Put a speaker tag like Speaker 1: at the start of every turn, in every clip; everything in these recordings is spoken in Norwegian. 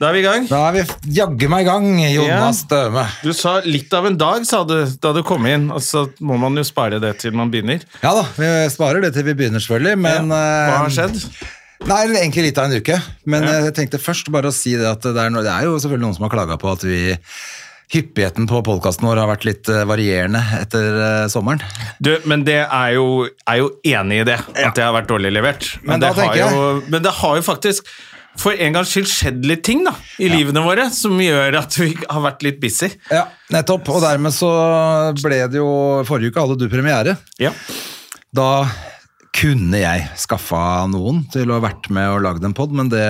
Speaker 1: Da er vi i gang.
Speaker 2: Da er vi f- jaggu meg i gang, Jonas Støme.
Speaker 1: Du sa litt av en dag, sa du, da du kom inn. Og så må man jo spare det til man begynner.
Speaker 2: Ja da, vi sparer det til vi begynner, selvfølgelig. Men,
Speaker 1: Hva har
Speaker 2: eh,
Speaker 1: skjedd?
Speaker 2: Nei, det er egentlig litt av en uke. Men
Speaker 1: Ja.
Speaker 2: eh, jeg tenkte først bare å si det at det er, no, det er jo selvfølgelig noen som har klaga på at vi Hyppigheten på podkasten vår har vært litt eh, varierende etter eh, sommeren.
Speaker 1: Du, men det er jo, er jo enig i det, at det har vært dårlig levert.
Speaker 2: Men
Speaker 1: Men,
Speaker 2: da
Speaker 1: det, har
Speaker 2: tenker
Speaker 1: jo, men det har jo faktisk for en gangs skyld skjedd litt ting da, i livene våre som gjør at vi har vært litt busy.
Speaker 2: Ja, nettopp. Og dermed så ble det jo Forrige uke hadde du premiere.
Speaker 1: Ja.
Speaker 2: Da kunne jeg skaffa noen til å ha vært med og lagd en pod, men det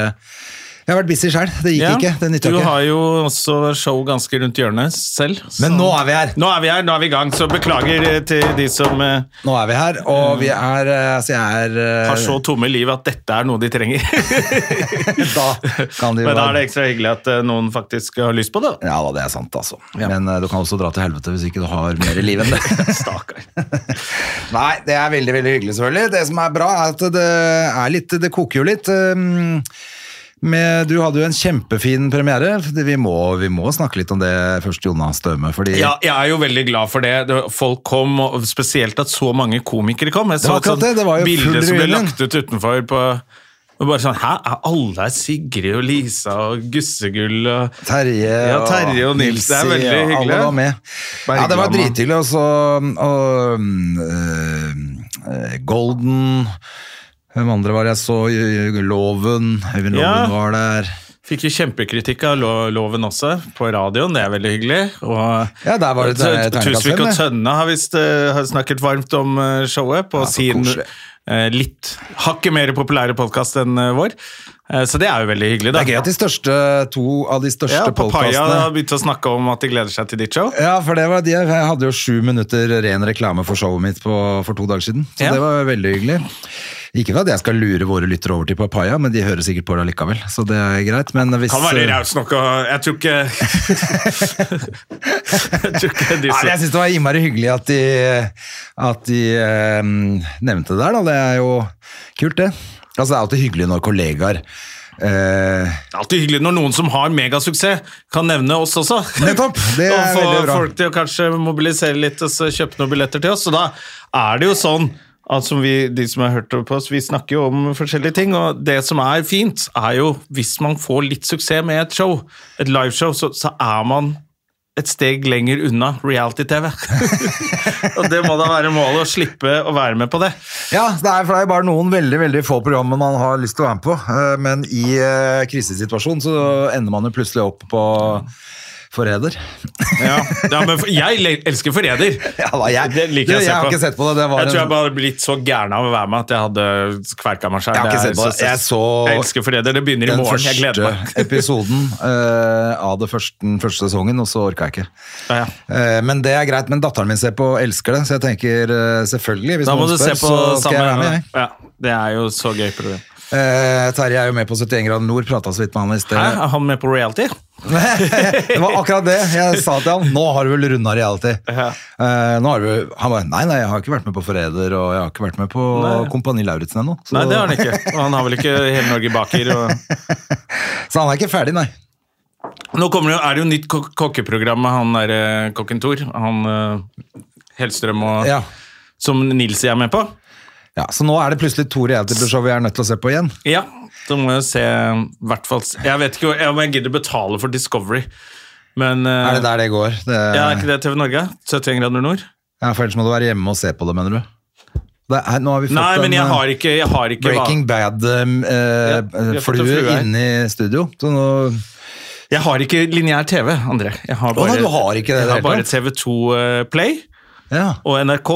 Speaker 2: Jeg har vært busy sjøl. Det gikk
Speaker 1: Ja,
Speaker 2: ikke. Det nytta
Speaker 1: du
Speaker 2: ikke.
Speaker 1: har jo også show ganske rundt hjørnet selv. så-
Speaker 2: Men nå er vi her!
Speaker 1: Nå er vi her, nå er vi i gang, så beklager eh, til de som eh,
Speaker 2: Nå er vi her, og vi er eh, Altså, jeg er eh,
Speaker 1: har så tomme liv at dette er noe de trenger.
Speaker 2: Da kan de jo
Speaker 1: Men da
Speaker 2: være-
Speaker 1: er det ekstra hyggelig at eh, noen faktisk har lyst på det. da.
Speaker 2: Ja da, det er sant, altså.
Speaker 1: Ja.
Speaker 2: Men eh, du kan også dra til helvete hvis ikke du har mer i livet enn det.
Speaker 1: Stakkar.
Speaker 2: Nei, det er veldig veldig hyggelig, selvfølgelig. Det som er bra, er at det, er litt, det koker jo litt. eh, Med, du hadde jo en kjempefin premiere. Vi må, vi må snakke litt om det først, Jonas Støme. Fordi
Speaker 1: Ja, jeg er jo veldig glad for det. Det- Folk kom, og spesielt at så mange komikere kom. Jeg så
Speaker 2: var
Speaker 1: et
Speaker 2: akkurat
Speaker 1: sånt
Speaker 2: det, det var jo full
Speaker 1: bilde som ble
Speaker 2: ruin.
Speaker 1: lagt ut utenfor på og bare sånn, Hæ, er alle her Sigrid og Lisa og Gussegull og
Speaker 2: Terje,
Speaker 1: Ja, Terje og Nils, det er
Speaker 2: Nilsi,
Speaker 1: veldig
Speaker 2: og
Speaker 1: hyggelig.
Speaker 2: Alle var med. Ja, det var
Speaker 1: Bergland,
Speaker 2: drithyggelig. Og så og, øh, øh, Golden Hvem andre var det jeg så? Loven. Øyvind Loven
Speaker 1: Ja.
Speaker 2: var der.
Speaker 1: Fikk jo kjempekritikk av lo- loven også, på radioen. Det er veldig hyggelig. Og
Speaker 2: Ja, der var det
Speaker 1: Tø-
Speaker 2: Terningkast
Speaker 1: Tusvik
Speaker 2: fem,
Speaker 1: og
Speaker 2: det.
Speaker 1: Tønne har visst eh, har snakket varmt om eh, showet på
Speaker 2: så
Speaker 1: sin
Speaker 2: koselig.
Speaker 1: eh, litt hakket mer populære podkast enn eh, vår. Eh, Så det er jo veldig hyggelig.
Speaker 2: Det
Speaker 1: da.
Speaker 2: er gøy at de største to av de største
Speaker 1: ja, Papaya
Speaker 2: podcastene-
Speaker 1: har begynt å snakke om at de gleder seg til ditt show.
Speaker 2: Ja, for det var de, jeg hadde jo sju minutter ren reklame for showet mitt på, for to dager siden. Så
Speaker 1: Ja.
Speaker 2: det var veldig hyggelig. Ikke for at jeg skal lure våre lyttere over til Papaya, men de hører sikkert på det likevel. Så det er greit. Men hvis, øh,
Speaker 1: Kan være raus nok og Jeg tror ikke Jeg tror ikke de
Speaker 2: Nei, men
Speaker 1: så-
Speaker 2: jeg syns det var innmari hyggelig at de, at de eh, nevnte det der, da. Det er jo kult, det. Altså, det er alltid hyggelig når kollegaer eh,
Speaker 1: Det er alltid hyggelig når noen som har megasuksess, kan nevne oss også.
Speaker 2: Nettopp, det er
Speaker 1: og få
Speaker 2: veldig bra.
Speaker 1: folk til å kanskje mobilisere litt og så kjøpe noen billetter til oss. Så da er det jo sånn at som vi, de som har hørt på oss, vi snakker jo om forskjellige ting, og det som er fint, er jo hvis man får litt suksess med et show, et liveshow, så, så er man et steg lenger unna reality-TV. og det må da være målet, å slippe å være med på det.
Speaker 2: Ja, det er, for det er bare noen veldig veldig få programmer man har lyst til å være med på. eh, Men i eh, krisesituasjon så ender man jo plutselig opp på forræder.
Speaker 1: Ja, ja men for- jeg le- elsker Forræder.
Speaker 2: Ja, da, jeg-
Speaker 1: det liker
Speaker 2: du,
Speaker 1: jeg å se på.
Speaker 2: jeg har ikke sett på det, det var en-
Speaker 1: jeg tror jeg bare hadde blitt så gæren av å være med at jeg hadde kverka meg sjøl.
Speaker 2: Jeg har ikke sett på det. Jeg så-
Speaker 1: jeg elsker Forræder. Det begynner i
Speaker 2: Den
Speaker 1: morgen. Jeg gleder
Speaker 2: første
Speaker 1: meg.
Speaker 2: episoden eh, av det første, den første sesongen, og så orka jeg ikke.
Speaker 1: Ja, ja.
Speaker 2: Eh, men det er greit. Men datteren min ser på og elsker det, så jeg tenker eh, selvfølgelig. Hvis
Speaker 1: Da må
Speaker 2: noen
Speaker 1: du se
Speaker 2: spør,
Speaker 1: på
Speaker 2: så skal jeg være med,
Speaker 1: sammen.
Speaker 2: jeg.
Speaker 1: Ja, det er jo så gøy program.
Speaker 2: Eh, Terje er jo med på 71 grader nord, prata så vidt med han i sted.
Speaker 1: Hæ? Er han med på reality?
Speaker 2: det var akkurat det jeg sa til han. Nå har du vel runda reality.
Speaker 1: Ja.
Speaker 2: Eh, nå har du, han bare Nei, nei, jeg har ikke vært med på Forræder, og jeg har ikke vært med på
Speaker 1: Nei.
Speaker 2: Kompani Lauritzen ennå. Så,
Speaker 1: Nei, det har han ikke. Og han har vel ikke Hele Norge baker. Og...
Speaker 2: så han er ikke ferdig, nei.
Speaker 1: Nå kommer det, jo- er det jo nytt kok kokkeprogram med han derre kokken Tor. Han eh, Hellstrøm og
Speaker 2: Ja.
Speaker 1: Som Nilsi er med på.
Speaker 2: Ja, så nå er det plutselig to realityshow vi er nødt til å se på igjen.
Speaker 1: Ja, så må jeg se hvert fall Jeg vet ikke om jeg gidder betale for Discovery, men eh,
Speaker 2: Er det der eh, det går? Det,
Speaker 1: Ja, er ikke det TV Norge? 71 grader nord?
Speaker 2: Ja, for ellers må du være hjemme og se på det, mener du? Det er, nå har vi fått
Speaker 1: Nei, men jeg
Speaker 2: en eh,
Speaker 1: har ikke, jeg har ikke
Speaker 2: Breaking um, eh,
Speaker 1: Ja, vi har fått en
Speaker 2: Bad-flue
Speaker 1: flue her.
Speaker 2: inn i studio. Så nå,
Speaker 1: Jeg har ikke lineær TV, André. Jeg
Speaker 2: Å,
Speaker 1: har bare,
Speaker 2: nei, du har ikke det i det
Speaker 1: jeg har
Speaker 2: hele
Speaker 1: bare
Speaker 2: tatt.
Speaker 1: TV2 Play
Speaker 2: ja.
Speaker 1: og eh, NRK.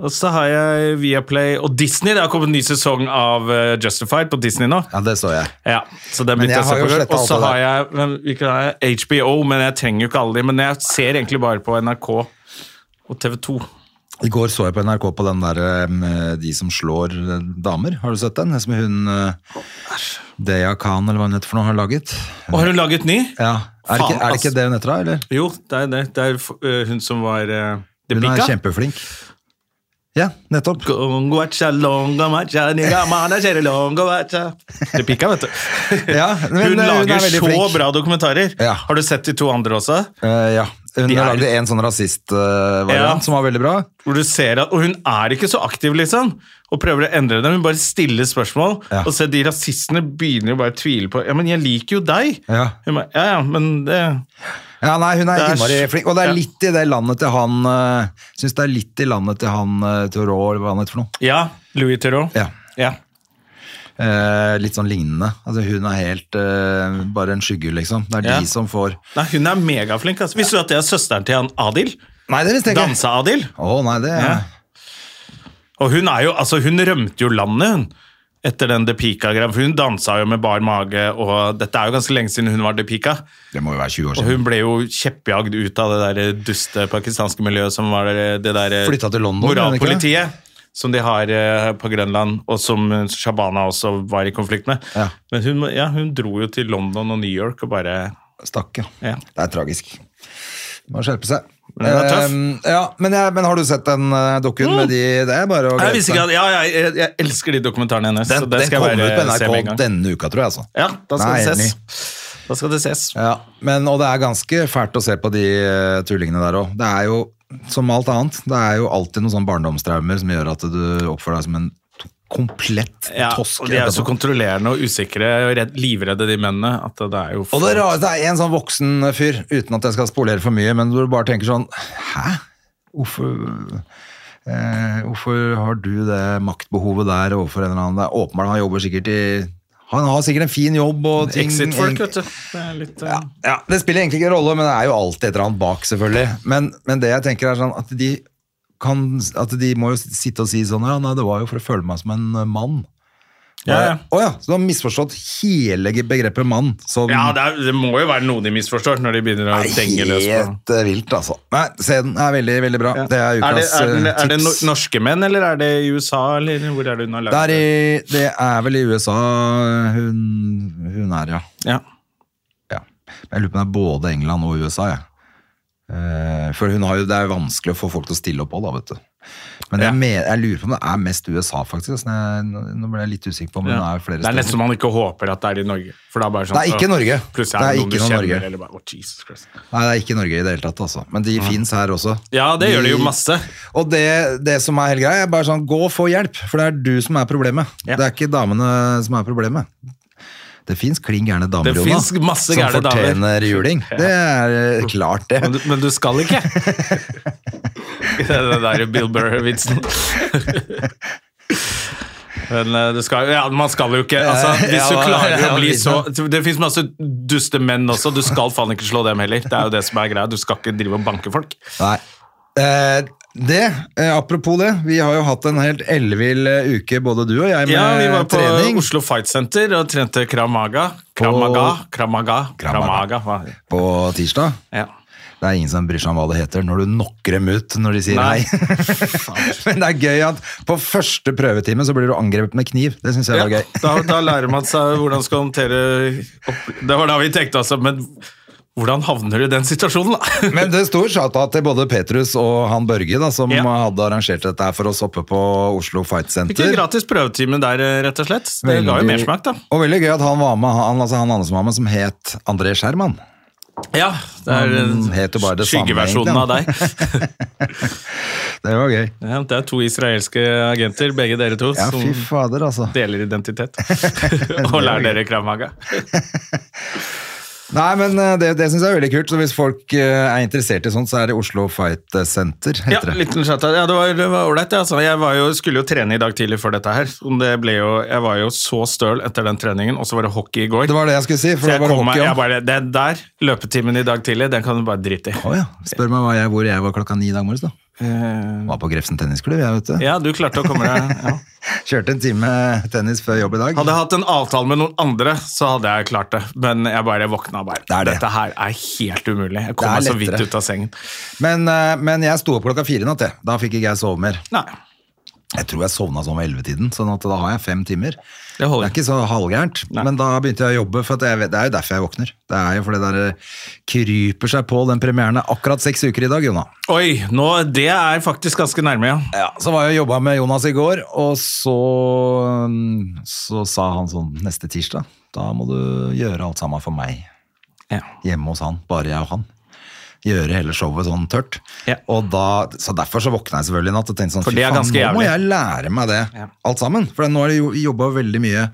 Speaker 1: Og så har jeg Viaplay og Disney. Det har kommet en ny sesong av eh, Justified på Disney nå.
Speaker 2: Ja, det så jeg.
Speaker 1: Ja, så den
Speaker 2: Men
Speaker 1: begynte
Speaker 2: jeg
Speaker 1: jeg å
Speaker 2: har jo
Speaker 1: se
Speaker 2: slettet
Speaker 1: på. Og så
Speaker 2: alt av
Speaker 1: har jeg men, hvilken har jeg? HBO, men jeg trenger jo ikke alle de. Men jeg ser egentlig bare på NRK og TV 2.
Speaker 2: I går så jeg på NRK på den der eh, De som slår eh, damer. Har du sett den? Som hun eh, Deya Khan, eller hva hun heter for noe, har laget.
Speaker 1: Og har hun laget ny?
Speaker 2: Ja. Er det ikke,
Speaker 1: Faen,
Speaker 2: er det, ikke
Speaker 1: ass.
Speaker 2: det hun heter, da? Eller?
Speaker 1: Jo, det er det. Det er eh, hun som var uh,
Speaker 2: Hun er
Speaker 1: Debika.
Speaker 2: kjempeflink. Ja, nettopp.
Speaker 1: Det pikka, vet du.
Speaker 2: Ja, men eh,
Speaker 1: hun
Speaker 2: hun er
Speaker 1: lager
Speaker 2: veldig
Speaker 1: så
Speaker 2: flink.
Speaker 1: bra dokumentarer.
Speaker 2: Ja.
Speaker 1: Har du sett de to andre også?
Speaker 2: Eh, ja. Hun
Speaker 1: De er-
Speaker 2: lagde en sånn rasistvariant
Speaker 1: Ja.
Speaker 2: som var veldig bra.
Speaker 1: Hvor du ser at, Og hun er ikke så aktiv, liksom. Og prøver å endre dem. Hun bare stiller spørsmål.
Speaker 2: Ja.
Speaker 1: Og så de rasistene begynner jo bare å tvile på Ja, men jeg liker jo deg.
Speaker 2: Ja.
Speaker 1: Hun bare, ja, ja, men det
Speaker 2: Ja, nei, hun er
Speaker 1: Det er
Speaker 2: innmari
Speaker 1: s-
Speaker 2: flink. Og det er
Speaker 1: ja.
Speaker 2: litt i det landet til han uh, Syns det er litt i landet til han uh, Thoreau, eller hva han heter for noe.
Speaker 1: Ja, Louis Theroux.
Speaker 2: Ja.
Speaker 1: Ja.
Speaker 2: Eh, litt sånn lignende. Altså, hun er helt eh, bare en skygge, liksom. Det er
Speaker 1: Ja.
Speaker 2: de som får
Speaker 1: Nei, hun er megaflink. Altså. Visste du at det er søsteren til han Adil?
Speaker 2: Nei, det visste jeg ikke!
Speaker 1: Danse-Adil.
Speaker 2: Å, nei, det
Speaker 1: Ja. Og hun er jo, altså hun rømte jo landet, hun. Etter den De Pica-greia. For hun dansa jo med bar mage, og dette er jo ganske lenge siden hun var De Pica.
Speaker 2: Det må jo være 20 år
Speaker 1: Og
Speaker 2: siden.
Speaker 1: hun ble jo kjeppjagd ut av det der duste pakistanske miljøet som var det, det der eh,
Speaker 2: Flytta til London, gjorde hun ikke det?
Speaker 1: moralpolitiet. Som de har eh, på Grønland, og som eh, Shabana også var i konflikt med.
Speaker 2: Ja.
Speaker 1: Men hun, ja, hun dro jo til London og New York og bare
Speaker 2: Stakk, ja.
Speaker 1: Ja.
Speaker 2: Det er tragisk. Må skjerpe seg.
Speaker 1: Men hun er tøff. Mm.
Speaker 2: Eh, ja, men, jeg, men har du sett den uh, dukken med de Det er bare å
Speaker 1: Jeg
Speaker 2: glede
Speaker 1: visste ikke at, ja, jeg, jeg, jeg elsker de dokumentarene hennes.
Speaker 2: Den,
Speaker 1: så det
Speaker 2: den
Speaker 1: skal jeg
Speaker 2: kommer
Speaker 1: bare
Speaker 2: ut på
Speaker 1: se med en
Speaker 2: NRK
Speaker 1: gang.
Speaker 2: denne uka, tror jeg. altså.
Speaker 1: Ja, da skal
Speaker 2: Nei,
Speaker 1: det
Speaker 2: enig.
Speaker 1: ses. Da skal det ses.
Speaker 2: Ja, men, Og det er ganske fælt å se på de eh, tullingene der òg. Det er jo, som alt annet, det er jo alltid noen sånne barndomstraumer som gjør at du oppfører deg som en to- komplett
Speaker 1: Ja,
Speaker 2: tosk.
Speaker 1: og de er jo så
Speaker 2: etterpå.
Speaker 1: kontrollerende og usikre og redd, livredde, de mennene. At det er jo
Speaker 2: og det rareste er en sånn voksen fyr, uten at jeg skal spolere for mye, men hvor du bare tenker sånn Hæ? Hvorfor eh, Hvorfor har du det maktbehovet der overfor en eller annen? Det er åpenbart han jobber sikkert i Han har sikkert en fin jobb og ting
Speaker 1: Exit-folk, vet du. Det er litt, eh,
Speaker 2: Ja, ja, det spiller egentlig ikke en rolle, men det er jo alltid et eller annet bak, selvfølgelig. Men, men det jeg tenker er sånn at de, kan, at de må jo sitte og si sånn Ja, nei, det var jo for å føle meg som en eh, mann. Eh,
Speaker 1: ja, ja.
Speaker 2: Å ja, så du har misforstått hele begrepet mann. Som
Speaker 1: ja det, er, det må jo være noe de misforstår når de begynner å denge løs på
Speaker 2: helt eh, vilt, altså. Nei, se den. er veldig, veldig bra.
Speaker 1: Ja.
Speaker 2: Det er
Speaker 1: er det,
Speaker 2: ukas
Speaker 1: er, det,
Speaker 2: eh,
Speaker 1: er det no
Speaker 2: tips.
Speaker 1: norske menn, eller er det i USA, eller hvor er det hun
Speaker 2: det,
Speaker 1: har lagd
Speaker 2: er i, det er vel i USA hun, hun er, ja.
Speaker 1: Ja.
Speaker 2: Ja. Men jeg lurer på om det er både England og USA, jeg. Eh, for hun har jo, det er jo vanskelig å få folk til å stille opp òg, da, vet du. Men
Speaker 1: Ja.
Speaker 2: jeg, mener, jeg lurer på om det er mest USA, faktisk. altså. Jeg- Nå nå ble jeg litt usikker på om hun
Speaker 1: Ja.
Speaker 2: er flere
Speaker 1: Det er nesten så
Speaker 2: steder.
Speaker 1: man ikke håper at det er i Norge. For det er bare sånn
Speaker 2: Det er ikke
Speaker 1: så-
Speaker 2: Norge.
Speaker 1: Plutselig
Speaker 2: Det
Speaker 1: er
Speaker 2: er
Speaker 1: det noen
Speaker 2: ikke
Speaker 1: du
Speaker 2: noe
Speaker 1: kjenner,
Speaker 2: Norge.
Speaker 1: eller bare oh, Jesus Christ.
Speaker 2: Nei, det er ikke Norge i det hele tatt, altså. Men de fins her også.
Speaker 1: Ja, det gjør det jo
Speaker 2: De-
Speaker 1: masse.
Speaker 2: Og det, det som er hele greia, er bare sånn gå og få hjelp, for det er du som er problemet.
Speaker 1: Ja.
Speaker 2: Det er ikke damene som er problemet. Det fins klin gærne damer,
Speaker 1: Det
Speaker 2: Jonas,
Speaker 1: finnes masse
Speaker 2: som
Speaker 1: gærne damer.
Speaker 2: fortjener juling. Det er eh, klart, det.
Speaker 1: Men du, men du skal ikke. det er den der Bill Burr-vitsen. Men eh, du skal, ja, man skal jo ikke altså, Hvis du
Speaker 2: Ja, ja,
Speaker 1: klarer
Speaker 2: ja,
Speaker 1: å bli
Speaker 2: ja,
Speaker 1: så Det fins masse duste menn også, du skal faen ikke slå dem heller. Det er jo det som er greia. Du skal ikke drive og banke folk.
Speaker 2: Nei. Eh, det, eh, apropos det, vi har jo hatt en helt ellevill eh, uke, både du og jeg, med
Speaker 1: Ja, vi var på
Speaker 2: eh, trening.
Speaker 1: Oslo Fight Center og trente Kramaga. Kramaga, Kramaga,
Speaker 2: Kramaga.
Speaker 1: Kramaga. hva-
Speaker 2: På tirsdag.
Speaker 1: Ja.
Speaker 2: Det er ingen som bryr seg om hva det heter når du knocker dem ut når de sier
Speaker 1: Nei.
Speaker 2: nei. Men det er gøy at på første prøvetime så blir du angrepet med kniv. Det syns jeg
Speaker 1: Ja,
Speaker 2: var gøy.
Speaker 1: da, da lærer man seg hvordan skal håndtere opp... Det var da vi tenkte, altså. Men hvordan havner du i den situasjonen, da?
Speaker 2: Men det sto shout-out til både Petrus og han Børge, da, som
Speaker 1: Ja.
Speaker 2: hadde arrangert dette her for oss oppe på Oslo Fight
Speaker 1: Fikk en
Speaker 2: Center.
Speaker 1: gratis prøvetime der, eh, rett og slett. Det ga jo
Speaker 2: Veldig-
Speaker 1: mersmak, da.
Speaker 2: Og veldig gøy at han var med, han, altså han andre som var med, som het André Skjerman.
Speaker 1: Ja, det er
Speaker 2: Han
Speaker 1: eh,
Speaker 2: heter bare det samme,
Speaker 1: skyggeversjonen
Speaker 2: egentlig,
Speaker 1: av deg.
Speaker 2: Det var gøy.
Speaker 1: Ja, det er to israelske agenter, begge dere to,
Speaker 2: Ja,
Speaker 1: som
Speaker 2: fy fader, altså.
Speaker 1: deler identitet. og lærer dere Krav Maga.
Speaker 2: Nei, men eh, det, det syns jeg er veldig kult. Så hvis folk eh, er interessert i sånt, så er det Oslo Fight Center,
Speaker 1: Ja,
Speaker 2: heter det.
Speaker 1: liten chatta. Ja, det var det var ålreit. det, altså. Jeg var jo, skulle jo trene i dag tidlig før dette her. og Det ble jo, jeg var jo så støl etter den treningen, og så var det hockey i går.
Speaker 2: Det var det jeg skulle si, for
Speaker 1: så
Speaker 2: det
Speaker 1: jeg
Speaker 2: var
Speaker 1: kom meg,
Speaker 2: hockey
Speaker 1: jeg
Speaker 2: òg.
Speaker 1: bare, den der løpetimen i dag tidlig, den kan du bare drite i.
Speaker 2: Å ja. Spør meg hva jeg, hvor jeg var klokka ni i dag morges, da. Var på Grefsen tennisklubb, jeg, vet du.
Speaker 1: Eh, Ja, du klarte å komme deg ja.
Speaker 2: Kjørte en time tennis før jobb i dag.
Speaker 1: Hadde jeg hatt en avtale med noen andre, så hadde jeg klart det. Men jeg bare våkna og bare
Speaker 2: er det.
Speaker 1: Dette her er helt umulig. Jeg
Speaker 2: Det
Speaker 1: kom
Speaker 2: er
Speaker 1: meg så vidt
Speaker 2: lettere.
Speaker 1: ut av sengen.
Speaker 2: Men, eh, men jeg sto opp klokka fire i natt, jeg. Da fikk ikke jeg sove mer.
Speaker 1: Nei,
Speaker 2: Jeg tror jeg sovna sånn ved ellevetiden, sånn at da har jeg fem timer.
Speaker 1: det
Speaker 2: Det er
Speaker 1: holder.
Speaker 2: ikke så halvgærent,
Speaker 1: Nei.
Speaker 2: men da begynte jeg å jobbe, for at jeg, vet- det er jo derfor jeg våkner. Det er jo fordi det der, eh, kryper seg på den premieren er akkurat seks uker i dag, Jonna.
Speaker 1: Oi, nå, det er faktisk ganske nærme, ja.
Speaker 2: Ja, så var jeg og jobba med Jonas i går, og så, mm, så sa han sånn neste tirsdag, da må du gjøre alt sammen for meg.
Speaker 1: ja.
Speaker 2: hjemme hos han, bare jeg og han. Gjøre hele showet sånn tørt.
Speaker 1: Ja.
Speaker 2: Og da, så Derfor så våkna jeg selvfølgelig i natt og tenkte sånn,
Speaker 1: For det er
Speaker 2: "Fy faen,
Speaker 1: ganske
Speaker 2: nå må
Speaker 1: jævlig."
Speaker 2: jeg lære meg det
Speaker 1: Ja.
Speaker 2: alt sammen. For nå har jeg jo jobba veldig mye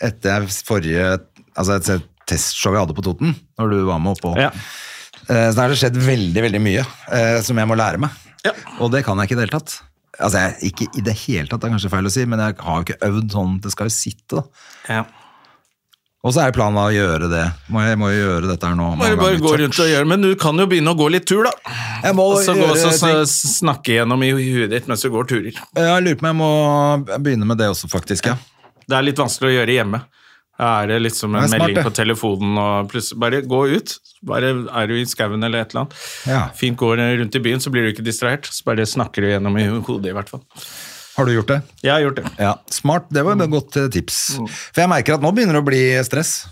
Speaker 2: etter jeg forrige altså et testshow jeg hadde på Toten, når du var med oppå.
Speaker 1: Ja.
Speaker 2: Eh, Så da har det skjedd veldig veldig mye eh, som jeg må lære meg.
Speaker 1: Ja.
Speaker 2: Og det kan jeg ikke i det hele tatt. Altså, jeg, ikke i det hele tatt, det er kanskje feil å si, men jeg har jo ikke øvd sånn. Det skal jo sitte, da.
Speaker 1: ja.
Speaker 2: Og så er planen å gjøre det. Må jeg må jo gjøre dette her nå.
Speaker 1: Bare,
Speaker 2: mange
Speaker 1: bare
Speaker 2: ganger
Speaker 1: gå
Speaker 2: tørt.
Speaker 1: rundt og gjøre Men du kan jo begynne å gå litt tur, da.
Speaker 2: Jeg må
Speaker 1: Og så gå
Speaker 2: gjøre
Speaker 1: og så- så
Speaker 2: ting.
Speaker 1: snakke gjennom i huet ditt mens du går turer.
Speaker 2: Jeg lurer på om jeg må begynne med det også, faktisk. Ja.
Speaker 1: Det er litt vanskelig å gjøre hjemme. Da er det liksom
Speaker 2: Det
Speaker 1: en
Speaker 2: er smart,
Speaker 1: melding
Speaker 2: det.
Speaker 1: på telefonen og plutselig Bare gå ut. Bare er du i skauen eller et eller annet.
Speaker 2: Ja.
Speaker 1: Fint går rundt i byen, så blir du ikke distrahert. Så bare snakker du gjennom i hodet, i hvert fall.
Speaker 2: Har du gjort det?
Speaker 1: Jeg har gjort det.
Speaker 2: Ja, Smart. Det var et godt eh, tips.
Speaker 1: Mm.
Speaker 2: For jeg merker at nå begynner det å bli stress.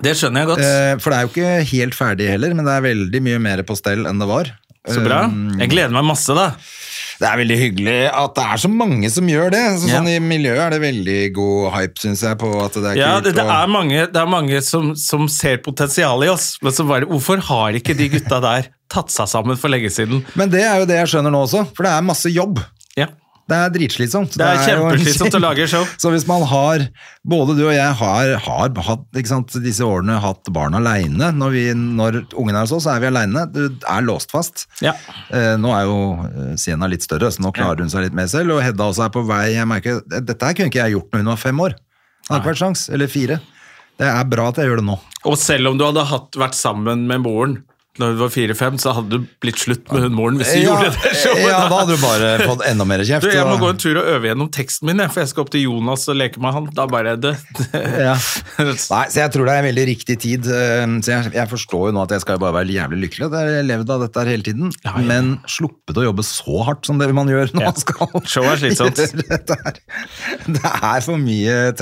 Speaker 1: Det skjønner jeg godt.
Speaker 2: Eh, For det er jo ikke helt ferdig heller, men det er veldig mye mer på stell enn det var.
Speaker 1: så bra.
Speaker 2: Eh,
Speaker 1: Jeg gleder meg masse, da.
Speaker 2: Det er veldig hyggelig at det er så mange som gjør det. Så
Speaker 1: Ja.
Speaker 2: sånn I miljøet er det veldig god hype, syns jeg, på at det er
Speaker 1: Ja,
Speaker 2: kult.
Speaker 1: det, det
Speaker 2: og-
Speaker 1: er mange, det er mange som, som ser potensialet i oss, men så bare Hvorfor har ikke de gutta der tatt seg sammen for lenge siden?
Speaker 2: Men det er jo det jeg skjønner nå også, for det er masse jobb.
Speaker 1: Ja.
Speaker 2: Det er dritslisomt.
Speaker 1: Det er
Speaker 2: jo en
Speaker 1: kjempeslitsomt å
Speaker 2: kjempe-
Speaker 1: lage show.
Speaker 2: Så hvis man har, både du og jeg har, har hatt, ikke sant, disse årene hatt barn alene, når, vi, når ungen er hos oss, så er vi alene, du er låst fast.
Speaker 1: Ja.
Speaker 2: Eh, nå er jo eh, Sienna litt større, så nå klarer hun seg litt mer selv, og Hedda også er på vei, jeg merker, eh, dette her kunne ikke jeg gjort når hun var fem år. Det hadde ikke vært sjans, eller fire. Det er bra at jeg gjør det nå.
Speaker 1: Og selv om du hadde hatt, vært sammen med moren når du var fire-fem, så hadde du blitt slutt med hun moren hvis du
Speaker 2: ja,
Speaker 1: gjorde det showet.
Speaker 2: ja, da hadde du bare fått enda mer kjeft.
Speaker 1: Du, jeg må
Speaker 2: og-
Speaker 1: gå en tur og øve gjennom teksten min, jeg, for jeg skal opp til Jonas og leke med han. Da bare det.
Speaker 2: Ja. Nei, så jeg tror det er en veldig riktig tid. eh, Så jeg, jeg forstår jo nå at jeg skal bare være jævlig lykkelig. at Jeg har levd av dette her hele tiden,
Speaker 1: Ja, ja.
Speaker 2: men sluppet å jobbe så hardt som det man gjør når
Speaker 1: Ja.
Speaker 2: man skal
Speaker 1: Show er slitsomt.
Speaker 2: gjøre dette her. Det er for mye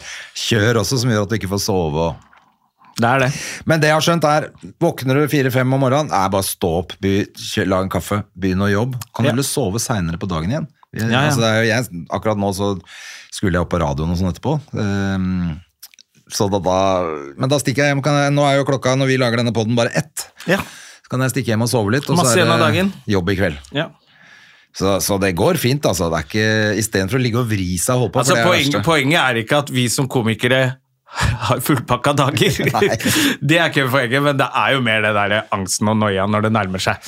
Speaker 2: tankekjør også som gjør at du ikke får sove. og
Speaker 1: Det er det.
Speaker 2: men det jeg har skjønt er, våkner du fire-fem om morgenen, er bare stå opp, by, kjø, lag en kaffe, begynn å jobbe. Kan du
Speaker 1: Ja.
Speaker 2: heller sove seinere på dagen igjen? Jeg,
Speaker 1: Ja, ja.
Speaker 2: Altså, det er jo jeg, akkurat nå så skulle jeg opp på radioen og sånn etterpå. Ehm, så da, da, men da stikker jeg hjem. Kan jeg, nå er jo klokka når vi lager denne podden bare ett.
Speaker 1: Ja.
Speaker 2: Så kan jeg stikke hjem og sove litt, og
Speaker 1: Masse
Speaker 2: så
Speaker 1: igjen
Speaker 2: er
Speaker 1: av
Speaker 2: det
Speaker 1: dagen.
Speaker 2: jobb i kveld.
Speaker 1: ja.
Speaker 2: Så, så det går fint, altså. Det er ikke, Istedenfor å ligge og vri seg og holde på.
Speaker 1: Altså,
Speaker 2: for det er det
Speaker 1: poeng,
Speaker 2: verste.
Speaker 1: poenget er ikke at vi som komikere har fullpakka dager.
Speaker 2: Nei.
Speaker 1: det er ikke poenget, men det er jo mer det der angsten og noia når det nærmer seg.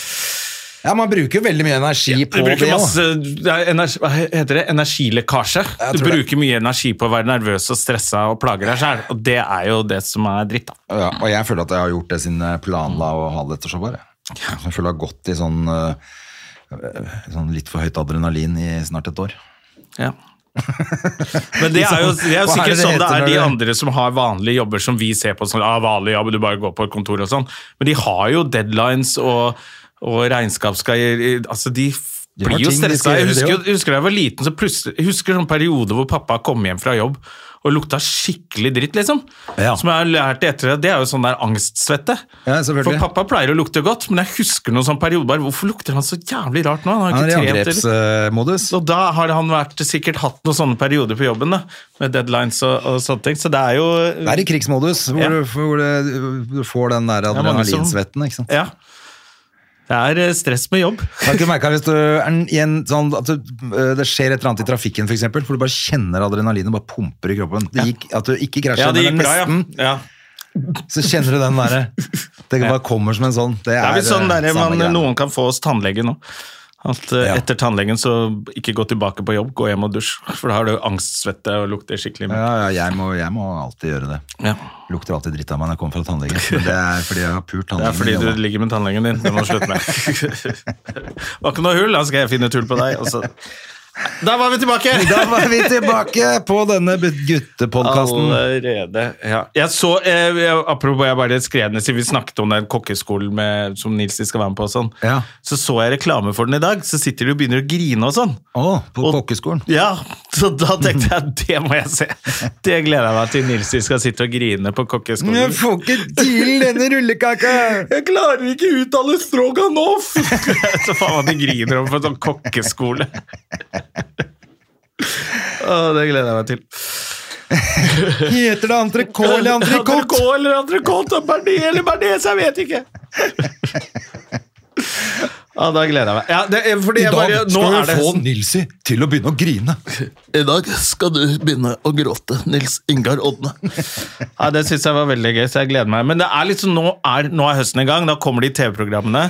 Speaker 2: Ja, man bruker jo veldig mye energi
Speaker 1: Du
Speaker 2: på det.
Speaker 1: bruker
Speaker 2: da.
Speaker 1: masse det er energi, Hva heter det? Energilekkasje.
Speaker 2: Jeg
Speaker 1: Du
Speaker 2: tror det.
Speaker 1: bruker mye energi på å være nervøs og stressa og plage deg sjæl, og det er jo det som er dritt, da.
Speaker 2: Ja, og jeg føler at jeg har gjort det siden jeg planla å ha dette showet. jeg. Jeg føler jeg har gått i sånn, øh, sånn litt for høyt adrenalin i snart et år.
Speaker 1: Ja. Men det er jo, det
Speaker 2: Liksom, Hva
Speaker 1: er jo
Speaker 2: er det
Speaker 1: sikkert
Speaker 2: det
Speaker 1: sånn
Speaker 2: heter
Speaker 1: det er
Speaker 2: når
Speaker 1: de
Speaker 2: det-
Speaker 1: andre som har vanlige jobber som vi ser på som ah, vanlig jobb, du bare går på et kontor og sånn, men de har jo deadlines og, og regnskap skal i- i- Altså, de f-
Speaker 2: De har
Speaker 1: blir jo
Speaker 2: ting de skal
Speaker 1: stressa.
Speaker 2: gjøre,
Speaker 1: Jeg
Speaker 2: de
Speaker 1: husker, jo-
Speaker 2: også.
Speaker 1: husker da jeg var liten, så plutselig jeg husker sånn periode hvor pappa kom hjem fra jobb og lukta skikkelig dritt, liksom.
Speaker 2: Ja.
Speaker 1: Som jeg har lært i ettertid, det er jo sånn der angstsvette.
Speaker 2: Ja, selvfølgelig.
Speaker 1: For pappa pleier å lukte godt, men jeg husker noen sånn periode bare Hvorfor lukter han så jævlig rart nå? Han
Speaker 2: Han er i
Speaker 1: har ikke trent eller
Speaker 2: angrepsmodus.
Speaker 1: og da har han vært, sikkert hatt noen sånne perioder på jobben, da, med deadlines og, og sånne ting. Så det er jo
Speaker 2: Det er i krigsmodus, hvor,
Speaker 1: Ja.
Speaker 2: du, hvor det- du får den der
Speaker 1: er mange som-
Speaker 2: adrenalinsvetten. ikke sant?
Speaker 1: Ja. Det er eh, stress med jobb.
Speaker 2: Har ikke du merket hvis du er i en sånn at du, øh, det skjer et eller annet i trafikken, f.eks., hvor du bare kjenner adrenalinet bare pumper i kroppen? Det gikk, at du ikke krasjer,
Speaker 1: Ja, det
Speaker 2: men
Speaker 1: gikk bra, ja.
Speaker 2: nesten,
Speaker 1: ja.
Speaker 2: så kjenner du den derre Det bare kommer som en sånn. Det er,
Speaker 1: Det er vel sånn
Speaker 2: øh,
Speaker 1: der,
Speaker 2: samme
Speaker 1: man,
Speaker 2: greia.
Speaker 1: noen kan få hos tannlege nå. At eh,
Speaker 2: Ja.
Speaker 1: etter tannlegen så ikke gå tilbake på jobb, gå hjem og dusj. For da har du angstsvette og lukter skikkelig mye.
Speaker 2: Ja, ja jeg, må, jeg må alltid gjøre det.
Speaker 1: Ja.
Speaker 2: Lukter alltid dritt av meg når jeg kommer fra tannlegen. Men det er fordi jeg har pult
Speaker 1: Det er
Speaker 2: tannlegen.
Speaker 1: fordi
Speaker 2: min,
Speaker 1: du
Speaker 2: da.
Speaker 1: ligger med tannlegen din. Det må du slutte med. Var ikke noe hull, da skal jeg finne et hull på deg. og så- Der var vi tilbake!
Speaker 2: Da var vi tilbake på denne guttepodkasten.
Speaker 1: Allerede, ja. Jeg så, eh, jeg- apropos, jeg bare skrev ned siden vi snakket om den kokkeskolen med, som Nils de skal være med på og sånn.
Speaker 2: Ja.
Speaker 1: Så så jeg reklame for den i dag, så sitter de og begynner å grine og sånn.
Speaker 2: Å, på
Speaker 1: Og-
Speaker 2: kokkeskolen.
Speaker 1: Ja, så da tenkte jeg, det må jeg se. Det gleder jeg meg til Nils de skal sitte og grine på kokkeskolen.
Speaker 2: får ikke til denne rullekaka!
Speaker 1: Jeg klarer ikke å uttale stroganoff! så faen hva de griner om på en sånn kokkeskole. Å, det gleder jeg meg til.
Speaker 2: Heter det entrecôte eller entrecôte?
Speaker 1: Entrecôte eller entrecôte og bearnés eller bearnés, jeg vet ikke! Ja, da gleder jeg meg. Ja, det, er- fordi
Speaker 2: I
Speaker 1: jeg bare,
Speaker 2: dag
Speaker 1: nå
Speaker 2: skal
Speaker 1: er
Speaker 2: vi
Speaker 1: det, sånn.
Speaker 2: få Nilsi til å begynne å grine.
Speaker 1: I dag skal du begynne å gråte, Nils Ingar Odne. Ja, det syns jeg var veldig gøy, så jeg gleder meg. Men det er liksom, nå er, nå er høsten i gang. Da kommer de TV-programmene,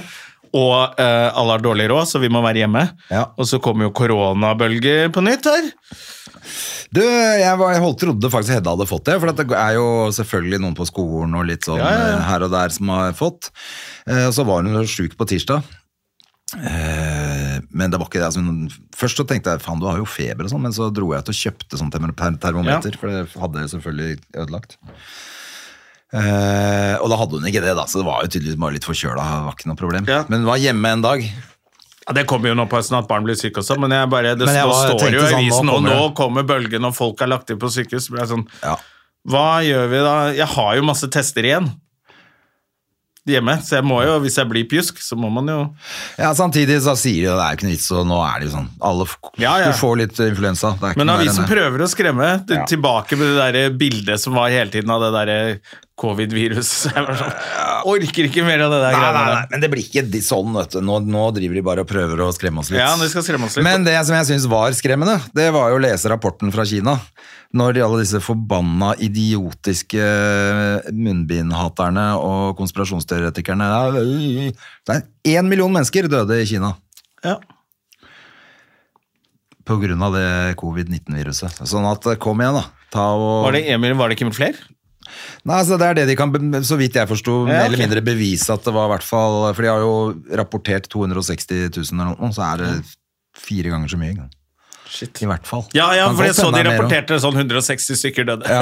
Speaker 1: og eh, alle har dårlig råd, så vi må være hjemme.
Speaker 2: Ja.
Speaker 1: Og så kommer jo koronabølger på nytt her.
Speaker 2: Du, jeg, var, jeg holdt, trodde faktisk Hedda hadde fått det, for at det er jo selvfølgelig noen på skolen og litt sånn
Speaker 1: Ja, ja, ja.
Speaker 2: eh, her og der som har fått. Eh, og så var hun jo sjuk på tirsdag. Eh, men det var ikke det. Altså, hun- først så tenkte jeg faen, du har jo feber og sånn, men så dro jeg ut og kjøpte sånn termo- ter termometer, for det hadde jeg selvfølgelig ødelagt. Eh, og da hadde hun ikke det, da, så det var jo tydeligvis bare litt forkjøla. det Var ikke noe problem.
Speaker 1: Ja.
Speaker 2: Men hun var hjemme en dag.
Speaker 1: Ja, Det kommer jo nå på høsten at barn blir syke også, men jeg bare, det
Speaker 2: Men jeg
Speaker 1: står-
Speaker 2: var-
Speaker 1: står jo i
Speaker 2: tenkte sånn, nå
Speaker 1: avisen, og
Speaker 2: kommer
Speaker 1: nå
Speaker 2: det.
Speaker 1: kommer bølgen, og folk er lagt inn på sykehus. Så ble jeg sånn,
Speaker 2: Ja.
Speaker 1: Hva gjør vi da? Jeg har jo masse tester igjen hjemme, så jeg må jo, hvis jeg blir pjusk, så må man jo
Speaker 2: Ja, Samtidig så sier de at det er jo ikke noe vits, og nå er det jo sånn alle, f-
Speaker 1: Ja, ja.
Speaker 2: Du får litt influensa. Det er ikke
Speaker 1: Men
Speaker 2: noe verre enn
Speaker 1: avisen
Speaker 2: det.
Speaker 1: prøver å skremme det,
Speaker 2: Ja.
Speaker 1: tilbake med det der bildet som var hele tiden av det der covid-viruset. Jeg bare sånn, orker ikke mer av det der
Speaker 2: Nei, nei,
Speaker 1: greiene
Speaker 2: nei,
Speaker 1: der.
Speaker 2: men det blir ikke de- sånn, vet du. Nå, nå driver de bare og prøver å skremme oss litt.
Speaker 1: Ja, de skal skremme oss litt.
Speaker 2: Men det som jeg syns var skremmende, det var jo å lese rapporten fra Kina. Når de- alle disse forbanna idiotiske eh, munnbindhaterne og konspirasjonsteoretikerne Det er én million mennesker døde i Kina
Speaker 1: Ja.
Speaker 2: pga. det covid-19-viruset. Sånn at kom igjen, da. Ta og
Speaker 1: Var det Emil, var det ikke flere?
Speaker 2: Nei, altså Det er det de kan, be- så vidt jeg forsto, mer
Speaker 1: Ja, ok.
Speaker 2: eller mindre bevise at det var i hvert fall For de har jo rapportert 260 000 eller noe, så er det fire ganger så mye. ikke sant?
Speaker 1: Shit.
Speaker 2: Mm. I hvert fall.
Speaker 1: Ja, ja,
Speaker 2: Kan
Speaker 1: for jeg
Speaker 2: godt
Speaker 1: så
Speaker 2: hende
Speaker 1: de
Speaker 2: det er mer
Speaker 1: rapporterte sånn 160 stykker døde.
Speaker 2: Ja.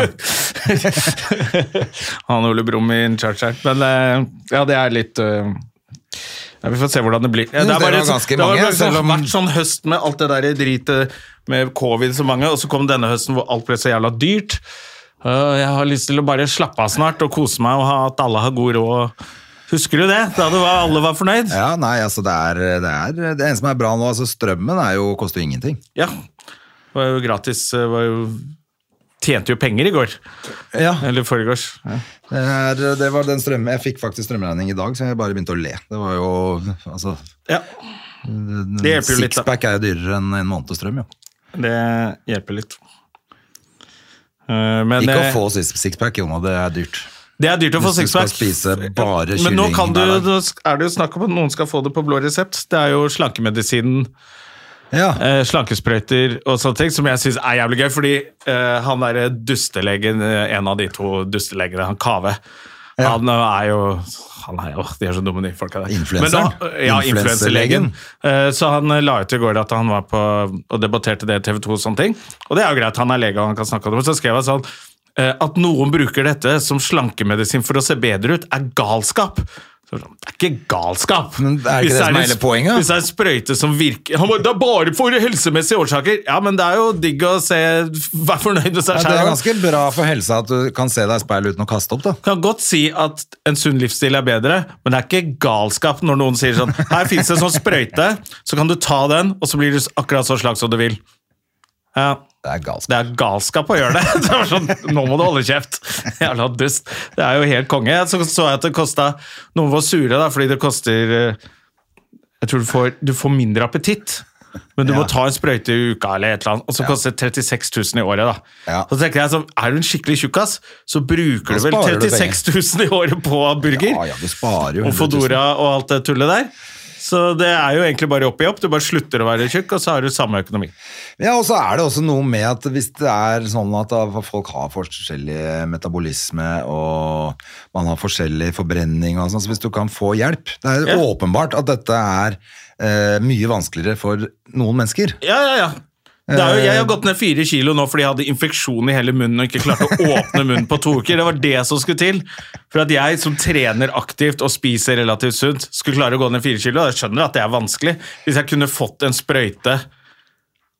Speaker 1: Han Ole Brumm i in charge her. Men eh, ja, det er litt eh, ja, Vi får se hvordan det blir. Ja,
Speaker 2: Jo, det
Speaker 1: er bare
Speaker 2: var
Speaker 1: så-
Speaker 2: ganske
Speaker 1: det har
Speaker 2: mange,
Speaker 1: bare
Speaker 2: selv
Speaker 1: sånn,
Speaker 2: om-
Speaker 1: vært sånn høst med alt det der dritet med covid så mange, og så kom denne høsten hvor alt ble så jævla dyrt. Eh, jeg har lyst til å bare slappe av snart og kose meg og ha, at alle har god råd. Husker du det? Da det var, alle var fornøyd?
Speaker 2: Ja, nei, altså det er, det er Det eneste som er bra nå, altså strømmen er jo, koster jo ingenting.
Speaker 1: Ja. Det var jo gratis. eh, Var jo, tjente jo penger i går.
Speaker 2: Ja,
Speaker 1: Eller forgårs. Ja.
Speaker 2: det, er, det var den strømmen Jeg fikk faktisk strømregning i dag, så jeg bare begynte å le. Det var jo Altså,
Speaker 1: Det hjelper jo litt, da.
Speaker 2: sixpack er jo dyrere enn en måneds strøm, jo.
Speaker 1: Det hjelper litt. Eh, Men
Speaker 2: Ikke å
Speaker 1: eh,
Speaker 2: få six- sixpack, Jonna, det er dyrt.
Speaker 1: det er dyrt å få
Speaker 2: Hvis du skal
Speaker 1: sixpack.
Speaker 2: spise bare
Speaker 1: Men nå,
Speaker 2: kylling
Speaker 1: kan du,
Speaker 2: hver dag.
Speaker 1: nå er det jo snakk om at noen skal få det på blå resept. Det er jo slankemedisinen,
Speaker 2: Ja.
Speaker 1: eh, slankesprøyter og sånne ting, som jeg syns er jævlig gøy. Fordi eh, han derre dustelegen, eh, en av de to dustelegene, han Kave, han eh, er jo han er jo, De er så dumme, de folka der.
Speaker 2: Influenseren?
Speaker 1: Men nå- eh, Ja,
Speaker 2: Influenselegen.
Speaker 1: influenselegen. Eh, Så han eh, la ut i går at han var på og debatterte det i TV 2 og sånne ting. Og det er jo greit, han er lege og han kan snakke om det. Men så skrev han sånn eh, at noen bruker dette som slankemedisin for å se bedre ut, er galskap. Så sånn, Det er ikke galskap!
Speaker 2: Men er det ikke
Speaker 1: Hvis
Speaker 2: det som er
Speaker 1: en
Speaker 2: hele
Speaker 1: sp-
Speaker 2: poenget?
Speaker 1: Hvis det er en sprøyte som virker Han bare, Det er bare for helsemessige årsaker! Ja, men det er jo digg å se Vær fornøyd med seg
Speaker 2: Ja, det er
Speaker 1: sjæl.
Speaker 2: ganske bra for helsa at du kan se deg i speilet uten å kaste opp, da.
Speaker 1: kan godt si at en sunn livsstil er bedre, men det er ikke galskap når noen sier sånn Her fins det en sånn sprøyte, så kan du ta den, og så blir du akkurat så slak som du vil. Ja,
Speaker 2: Det er galskap.
Speaker 1: det er galskap å gjøre det. det var sånn, Nå må du holde kjeft! Jævla dust. Det er jo helt konge. Så så jeg at det kosta Noen var sure da, fordi det koster eh, Jeg tror du får, du får mindre appetitt. Men du må ta en sprøyte i uka, eller et eller annet, og så koster det 36 000 i året. da.
Speaker 2: Ja.
Speaker 1: Og så tenker jeg, så Er du en skikkelig tjukkas, så bruker
Speaker 2: Da
Speaker 1: du vel
Speaker 2: sparer du
Speaker 1: 36 000 i året på burger
Speaker 2: Ja, ja, du sparer jo
Speaker 1: og
Speaker 2: 100 000.
Speaker 1: Fodora og alt det tullet der. Så det er jo egentlig bare opp i opp. Du bare slutter å være tjukk, og så har du samme økonomi.
Speaker 2: Ja, og så er det også noe med at hvis det er sånn at da folk har forskjellig metabolisme, og man har forskjellig forbrenning og sånn, så hvis du kan få hjelp Det er
Speaker 1: Ja.
Speaker 2: åpenbart at dette er eh, mye vanskeligere for noen mennesker.
Speaker 1: Ja, ja, ja. Det er jo, jeg har gått ned fire kilo nå fordi jeg hadde infeksjon i hele munnen og ikke klarte å åpne munnen på to uker. Det var det som skulle til for at jeg som trener aktivt og spiser relativt sunt, skulle klare å gå ned fire kilo. Jeg skjønner at det er vanskelig. Hvis jeg kunne fått en sprøyte,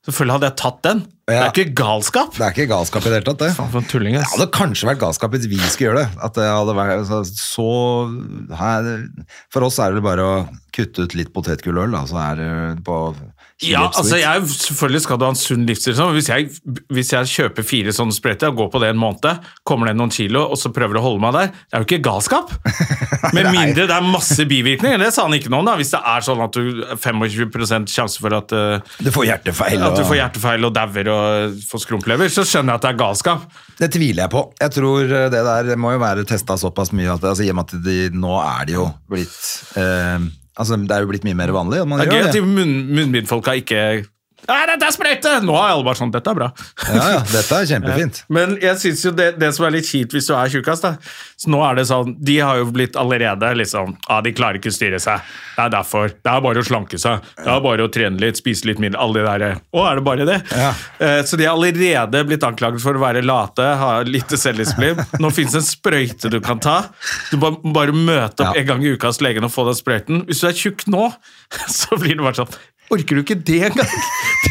Speaker 1: selvfølgelig hadde jeg tatt den. Det er
Speaker 2: Ja.
Speaker 1: ikke galskap.
Speaker 2: Det er ikke galskap i det hele tatt, det.
Speaker 1: For en tulling,
Speaker 2: Det
Speaker 1: ass.
Speaker 2: hadde kanskje vært galskap hvis vi skulle gjøre det. At det hadde vært så, så her, For oss er det vel bare å kutte ut litt potetgulløl, da, så er det på
Speaker 1: Ja, altså jeg, selvfølgelig skal du ha en sunn livsstil. Sånn. Hvis, jeg, hvis jeg kjøper fire sånne sprøyter og går på det en måned, kommer ned noen kilo og så prøver å holde meg der, det er jo ikke galskap. Med mindre det er masse bivirkninger. Det sa han ikke noe om, da. Hvis det er sånn at du er 25 sjanse for at, eh,
Speaker 2: Du får hjertefeil.
Speaker 1: at du
Speaker 2: og-
Speaker 1: får hjertefeil og dauer og får skrumplever, så skjønner jeg at det er galskap.
Speaker 2: Det tviler jeg på. Jeg tror eh, det der må jo være testa såpass mye at altså, i og med at de, nå er det jo blitt eh, Altså, det er jo blitt mye mer vanlig. at Man
Speaker 1: Det er gøy
Speaker 2: gjør
Speaker 1: at de munn, munnbindfolka ikke Nei, dette er sprøyte! Nå er alle bare sånn Dette er bra.
Speaker 2: Ja, ja, dette er kjempefint.
Speaker 1: Men jeg synes jo det, det som er litt kjipt hvis du er tjukkas, da Så nå er det sånn De har jo blitt allerede liksom Ja, de klarer ikke å styre seg. Det er derfor. Det er bare å slanke seg. Det er bare å trene litt, spise litt mindre. Alle de derre Å, er det bare det?
Speaker 2: Ja.
Speaker 1: Eh, Så de har allerede blitt anklaget for å være late, ha lite selvdisiplin. Nå fins det en sprøyte du kan ta. Du bare, bare møte
Speaker 2: Ja.
Speaker 1: opp en gang i uka hos legen og få den sprøyten. Hvis du er tjukk nå, så blir det bare sånn Orker du ikke det engang?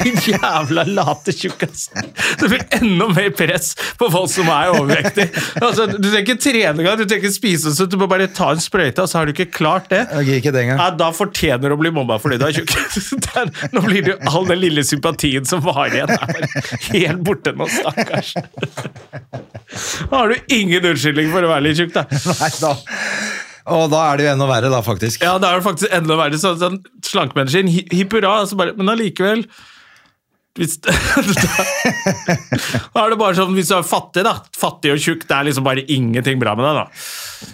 Speaker 1: Din jævla late tjukkas. Det blir enda mer press på folk som er overvektige. Altså, du trenger ikke trene engang, du trenger ikke spise så du må bare ta en sprøyte, og så har du ikke klart det.
Speaker 2: Jeg gir ikke det engang.
Speaker 1: Ja, da fortjener du å bli mobba fordi du er tjukk. Det er- Nå blir det jo all den lille sympatien som var igjen, er helt borte nå, stakkars. Da har du ingen unnskyldning for å være litt tjukk, da.
Speaker 2: Nei, da. Og da er det jo enda verre, da, faktisk.
Speaker 1: Ja, da er det faktisk enda verre. Sånn, sånn Slankemedisin, hi- hipp hurra, altså bare, men allikevel hvis, da, da er det bare sånn, hvis du er fattig, da. Fattig og tjukk, det er liksom bare ingenting bra med deg, da.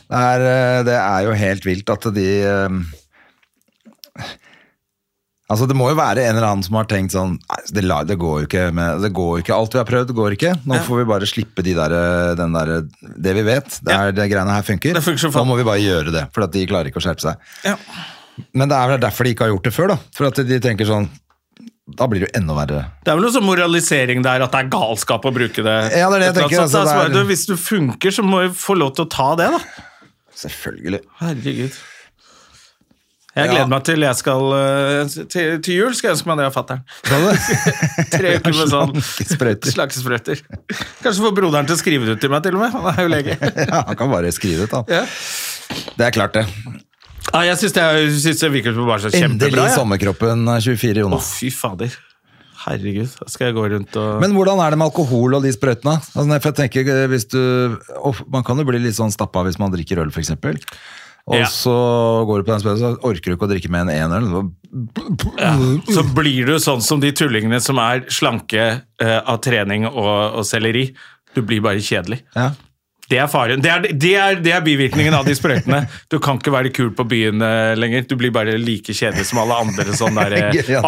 Speaker 2: Det er, eh, det er jo helt vilt at de eh, Altså, Det må jo være en eller annen som har tenkt sånn Nei, det, la- det går jo ikke med det går jo ikke. Alt vi har prøvd, går ikke. Nå får vi bare slippe de der, eh, den der, eh, det vi vet. Det er det greiene her funker.
Speaker 1: Det funker som
Speaker 2: Nå
Speaker 1: faen.
Speaker 2: må vi bare gjøre det, for at de klarer ikke å skjerpe seg.
Speaker 1: Ja.
Speaker 2: Men det er vel derfor de ikke har gjort det før. da. For at de tenker sånn Da blir det jo enda verre.
Speaker 1: Det er vel noe sånn moralisering der at det er galskap å bruke det.
Speaker 2: Ja, det er det jeg
Speaker 1: Et eller annet
Speaker 2: tenker,
Speaker 1: sånt,
Speaker 2: altså,
Speaker 1: da. Så
Speaker 2: det er-
Speaker 1: bare du, Hvis du funker, så må vi få lov til å ta det, da.
Speaker 2: Selvfølgelig.
Speaker 1: Herregud. Jeg
Speaker 2: Ja.
Speaker 1: gleder meg til jeg skal eh, til, til jul skal jeg ønske meg det av fatter'n. Tre uker med sånn
Speaker 2: Slankesprøyter.
Speaker 1: slankesprøyter. Kanskje få broderen til å skrive det ut til meg, til og med. Han er jo lege.
Speaker 2: Ja, han kan bare skrive det, da.
Speaker 1: Ja.
Speaker 2: Det er klart, det.
Speaker 1: Ja, jeg syns det, jeg synes det virker som bare så
Speaker 2: Endelig
Speaker 1: kjempebra. jeg.
Speaker 2: sommerkroppen eh, 24,
Speaker 1: Å,
Speaker 2: Jonas.
Speaker 1: fy fader. Herregud. Da skal jeg gå rundt og
Speaker 2: Men hvordan er det med alkohol og de sprøytene? Altså, nei, for jeg tenker, eh, hvis du, og man kan jo bli litt sånn stappa hvis man drikker øl, f.eks. Og
Speaker 1: Ja.
Speaker 2: så går du på den sprøyten, så orker du ikke å drikke mer enn én øl. Så,
Speaker 1: så blir du sånn som de tullingene som er slanke eh, av trening og, og selleri. Du blir bare kjedelig.
Speaker 2: ja.
Speaker 1: Det er faren. Det er, det er, det er bivirkningen av de sprøytene. Du kan ikke være kul på byen eh, lenger. Du blir bare like kjedelig som alle andre sånne der, eh,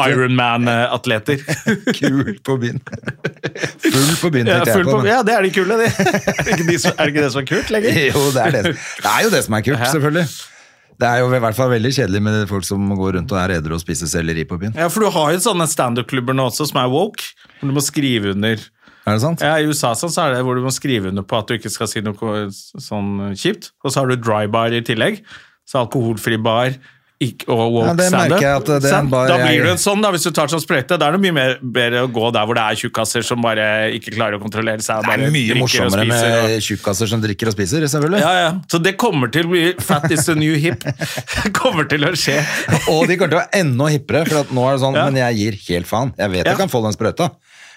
Speaker 1: Ironman-atleter.
Speaker 2: Kul på byen. Full på byen,
Speaker 1: Ja,
Speaker 2: tenkte jeg
Speaker 1: full
Speaker 2: på.
Speaker 1: på,
Speaker 2: men-
Speaker 1: ja, det er de kule, det. Er det ikke, de som, er det, ikke det som er kult lenger?
Speaker 2: Jo, det er, det. det er jo det som er kult, selvfølgelig. Det er jo i hvert fall veldig kjedelig med folk som går rundt og er edru og spiser selleri på byen.
Speaker 1: Ja, for du har jo sånne standup-klubber nå også som er woke. hvor Du må skrive under.
Speaker 2: Er det sant?
Speaker 1: Ja, I USA sånn, så er det hvor du må skrive under på at du ikke skal si noe ko- sånn kjipt. Og så har du dry bar i tillegg. Så alkoholfri bar ikk- og
Speaker 2: Ja,
Speaker 1: woke
Speaker 2: det merker
Speaker 1: standup.
Speaker 2: jeg at det er en
Speaker 1: Sant?
Speaker 2: bar
Speaker 1: da
Speaker 2: jeg-
Speaker 1: blir du en sånn, da, hvis du tar sånn sprøyte. Da er det mye mer, bedre å gå der hvor det er tjukkaser som bare ikke klarer å kontrollere seg. og
Speaker 2: Det
Speaker 1: bare
Speaker 2: er mye
Speaker 1: drikker og
Speaker 2: morsommere
Speaker 1: spiser og-
Speaker 2: med tjukkaser som drikker og spiser, selvfølgelig.
Speaker 1: ja, ja. Så det kommer til å bli Fat is the new hip. Det kommer til å skje.
Speaker 2: Og de kommer til å være enda hippere, for at nå er det sånn,
Speaker 1: Ja.
Speaker 2: men jeg gir helt faen. Jeg vet
Speaker 1: Ja.
Speaker 2: jeg kan få den sprøyta,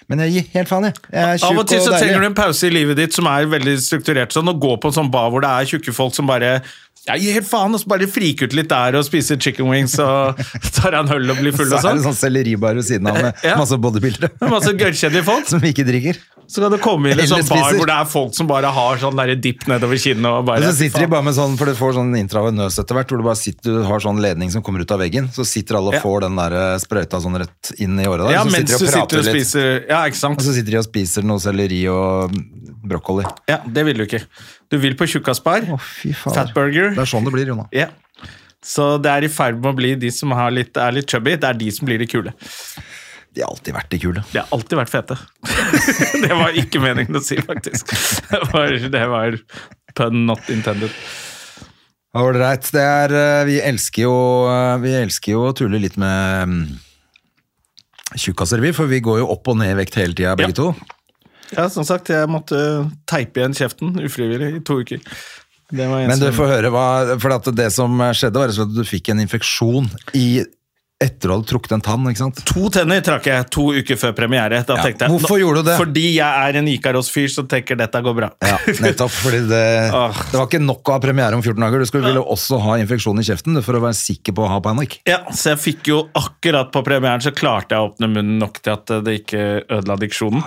Speaker 2: men jeg gir helt faen, jeg. Jeg er
Speaker 1: Av
Speaker 2: tjukk
Speaker 1: og til
Speaker 2: og
Speaker 1: så trenger du
Speaker 2: deilig.
Speaker 1: en pause i livet ditt som er veldig strukturert sånn, og gå på en sånn bar hvor det er tjukke folk som bare Jeg gir helt faen, og så bare frike ut litt der og spise chicken wings og tar en øl og blir full
Speaker 2: Så
Speaker 1: og
Speaker 2: er det
Speaker 1: sånn.
Speaker 2: sånn selleribar ved siden av med
Speaker 1: Ja.
Speaker 2: masse bodybuildere
Speaker 1: Det er Masse gørrkjedelige folk.
Speaker 2: som ikke drikker.
Speaker 1: Så kan det komme inn en
Speaker 2: Eller
Speaker 1: sånn bar
Speaker 2: spiser.
Speaker 1: hvor det er folk som bare har sånn der dipp nedover kinnet og
Speaker 2: Og
Speaker 1: bare
Speaker 2: så sitter de bare med sånn, for du får sånn intravenøs etter hvert, hvor du bare sitter, du har sånn ledning som kommer ut av veggen, så sitter alle og
Speaker 1: Ja.
Speaker 2: får den der eh, sprøyta sånn rett inn i året der,
Speaker 1: Ja,
Speaker 2: så
Speaker 1: mens
Speaker 2: sitter de
Speaker 1: du
Speaker 2: og
Speaker 1: sitter
Speaker 2: prater
Speaker 1: og
Speaker 2: litt.
Speaker 1: spiser Ja, ikke sant?
Speaker 2: Og så sitter de og spiser noe selleri og brokkoli.
Speaker 1: Ja, Det vil du ikke. Du vil på tjukkasbar.
Speaker 2: Altså- Å, fy faen.
Speaker 1: Fatburger.
Speaker 2: Det er sånn det blir, Jona.
Speaker 1: Ja. Så det er i ferd med å bli de som har litt, er litt chubby, det er de som blir de kule.
Speaker 2: De har alltid vært de kule.
Speaker 1: De har alltid vært fete. det var ikke meningen å si, faktisk. Det var, det var pun not intended.
Speaker 2: All right, det er, eh, vi elsker jo, eh, vi elsker jo å tulle litt med mm, tjukkaser vi, for vi går jo opp og ned i vekt hele tiden, begge
Speaker 1: Ja.
Speaker 2: to.
Speaker 1: Ja, som sagt, jeg måtte teipe igjen kjeften ufrivillig i to uker. Det var en
Speaker 2: Men du
Speaker 1: som-
Speaker 2: får høre hva For at det som skjedde, var rett og slett at du fikk en infeksjon i etter du hadde trukket en tann, ikke sant?
Speaker 1: To tenner trakk jeg to uker før premiere. Da
Speaker 2: Ja,
Speaker 1: tenkte jeg,
Speaker 2: hvorfor
Speaker 1: nå-
Speaker 2: gjorde du det?
Speaker 1: Fordi jeg er en Ikaros-fyr som tenker dette går bra.
Speaker 2: Ja, nettopp. Fordi det,
Speaker 1: Ah.
Speaker 2: det var ikke nok å ha premiere om 14 dager. Du skulle ville også ha infeksjon i kjeften du, for å være sikker på å ha panikk.
Speaker 1: Ja, så jeg fikk jo akkurat på premieren så klarte jeg å åpne munnen nok til at det ikke ødela diksjonen.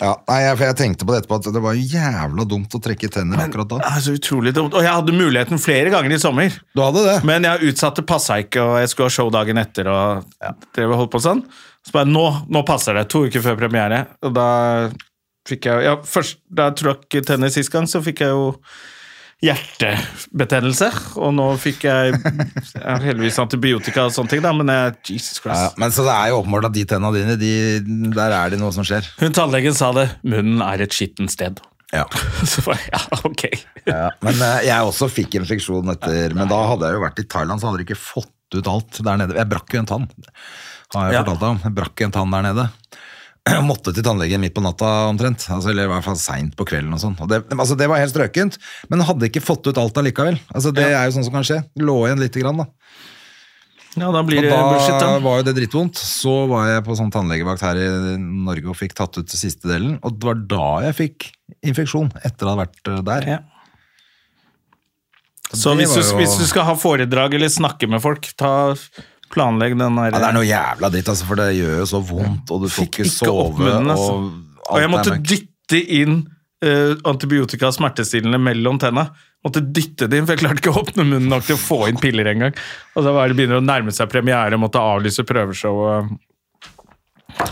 Speaker 2: Ja, nei, jeg, for jeg tenkte på det etterpå, at det var jo jævla dumt å trekke tenner akkurat
Speaker 1: Det
Speaker 2: da.
Speaker 1: er så utrolig dumt. Og jeg hadde muligheten flere ganger i sommer.
Speaker 2: Du hadde det?
Speaker 1: Men jeg utsatte passa ikke, og jeg skulle ha show dagen etter. og drev og holdt på sånn. Så bare, nå, nå passer det. To uker før premiere. Og da fikk jeg ja, først, Da jeg trakk tenner sist gang, så fikk jeg jo hjertebetennelse. Og nå fikk jeg, jeg har heldigvis antibiotika og sånne ting, da, men jeg, Jesus
Speaker 2: Ja, ja.
Speaker 1: Christ.
Speaker 2: men så det er jo åpenbart at de tenna dine, de, der er det noe som skjer.
Speaker 1: Hun tannlegen sa det. Munnen er et skittent sted.
Speaker 2: Ja.
Speaker 1: Så bare, ja, ok.
Speaker 2: Ja, men eh, jeg også fikk infeksjon etter Men da hadde jeg jo vært i Thailand, så hadde jeg ikke fått ut alt der nede. Jeg brakk jo en tann. Har jeg
Speaker 1: Ja.
Speaker 2: fortalt deg om. Jeg brakk en tann der nede. Jeg måtte til tannlegen midt på natta omtrent. Altså, eller i hvert fall seint på kvelden og sånn. Og det, altså, det var helt strøkent, men hadde ikke fått ut alt allikevel. Altså, det er jo sånn som kan skje. Lå igjen lite grann, da.
Speaker 1: Ja, da blir
Speaker 2: Og
Speaker 1: det
Speaker 2: da
Speaker 1: bullshit, da.
Speaker 2: var jo det drittvondt. Så var jeg på sånn tannlegevakt her i Norge og fikk tatt ut siste delen. Og det var da jeg fikk infeksjon, etter å ha vært eh, der.
Speaker 1: Ja. Så
Speaker 2: det
Speaker 1: hvis du,
Speaker 2: var jo-
Speaker 1: hvis du skal ha foredrag eller snakke med folk, ta, planlegg den der
Speaker 2: Ja, det er noe jævla dritt, altså, for det gjør jo så vondt, og du får
Speaker 1: Fikk
Speaker 2: ikke
Speaker 1: ikke
Speaker 2: sove.
Speaker 1: opp munnen, altså.
Speaker 2: Og,
Speaker 1: Og
Speaker 2: alt
Speaker 1: jeg
Speaker 2: er
Speaker 1: måtte
Speaker 2: møkk.
Speaker 1: dytte inn eh, antibiotika og smertestillende mellom tenna. Måtte dytte det inn, for jeg klarte ikke å åpne munnen nok til å få inn piller engang. Og så var det begynner å nærme seg premiere, måtte avlyse prøveshow. Og,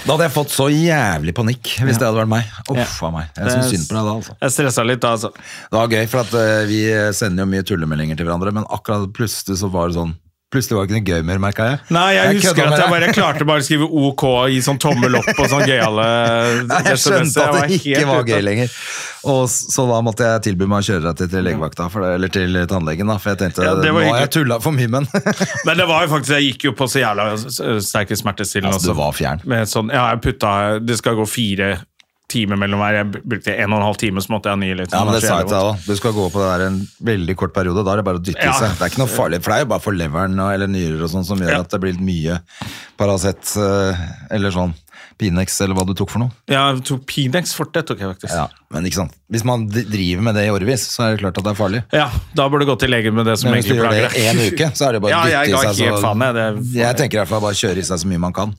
Speaker 2: Da hadde jeg fått så jævlig panikk hvis det hadde vært meg. Uff a meg. Jeg syns
Speaker 1: Det-
Speaker 2: synd på deg da, altså.
Speaker 1: jeg stressa litt da, altså.
Speaker 2: Det var gøy, for at eh, vi sender jo mye tullemeldinger til hverandre, men akkurat plutselig så var det sånn Plutselig var det ikke noe gøy mer, merka jeg.
Speaker 1: Nei, jeg, husker
Speaker 2: kødda
Speaker 1: at
Speaker 2: med
Speaker 1: jeg
Speaker 2: deg.
Speaker 1: bare klarte bare å skrive OK og gi sånn tommel opp og sånn gøyale
Speaker 2: Nei, jeg skjønte
Speaker 1: Jeg
Speaker 2: at det ikke
Speaker 1: helt
Speaker 2: var
Speaker 1: ute.
Speaker 2: gøy lenger. Og s- så da måtte jeg tilby meg å kjøre deg til- til legevakta, for det, eller til tannlegen, da, for jeg tenkte
Speaker 1: Ja, det var
Speaker 2: nå har
Speaker 1: hyggelig.
Speaker 2: jeg tulla for mye, men
Speaker 1: Men det var jo faktisk, jeg gikk jo på så jævla s- sterke smertestillende
Speaker 2: Altså, du
Speaker 1: også.
Speaker 2: var fjern.
Speaker 1: Med sånn, ja, jeg putta, det skal gå fire timer mellom hver, jeg brukte en og en halv time, så måtte jeg ha ny liksom, litt.
Speaker 2: Ja, men det sa jeg til
Speaker 1: da.
Speaker 2: deg òg. Du skal gå på det der en veldig kort periode. Da er det bare å dytte i
Speaker 1: Ja.
Speaker 2: seg. Det er ikke noe farlig, for det er jo bare for leveren og- eller nyrer og sånn som gjør
Speaker 1: Ja.
Speaker 2: at det blir mye Paracet eh, eller sånn Pinex eller hva du tok for noe.
Speaker 1: Ja, jeg tok Pinex Forte, tok jeg faktisk.
Speaker 2: Ja,
Speaker 1: Ja.
Speaker 2: Men ikke sant. Hvis man d- driver med det i årevis, så er det klart at det er farlig.
Speaker 1: da burde du gå til legen med det som
Speaker 2: Men hvis du
Speaker 1: egentlig
Speaker 2: gjør
Speaker 1: plager
Speaker 2: det i en uke, så er det bare å
Speaker 1: Ja, jeg
Speaker 2: dytte
Speaker 1: ga
Speaker 2: i seg. Så,
Speaker 1: helt faen, jeg. Det-
Speaker 2: jeg tenker i hvert fall bare kjøre i seg så mye man kan.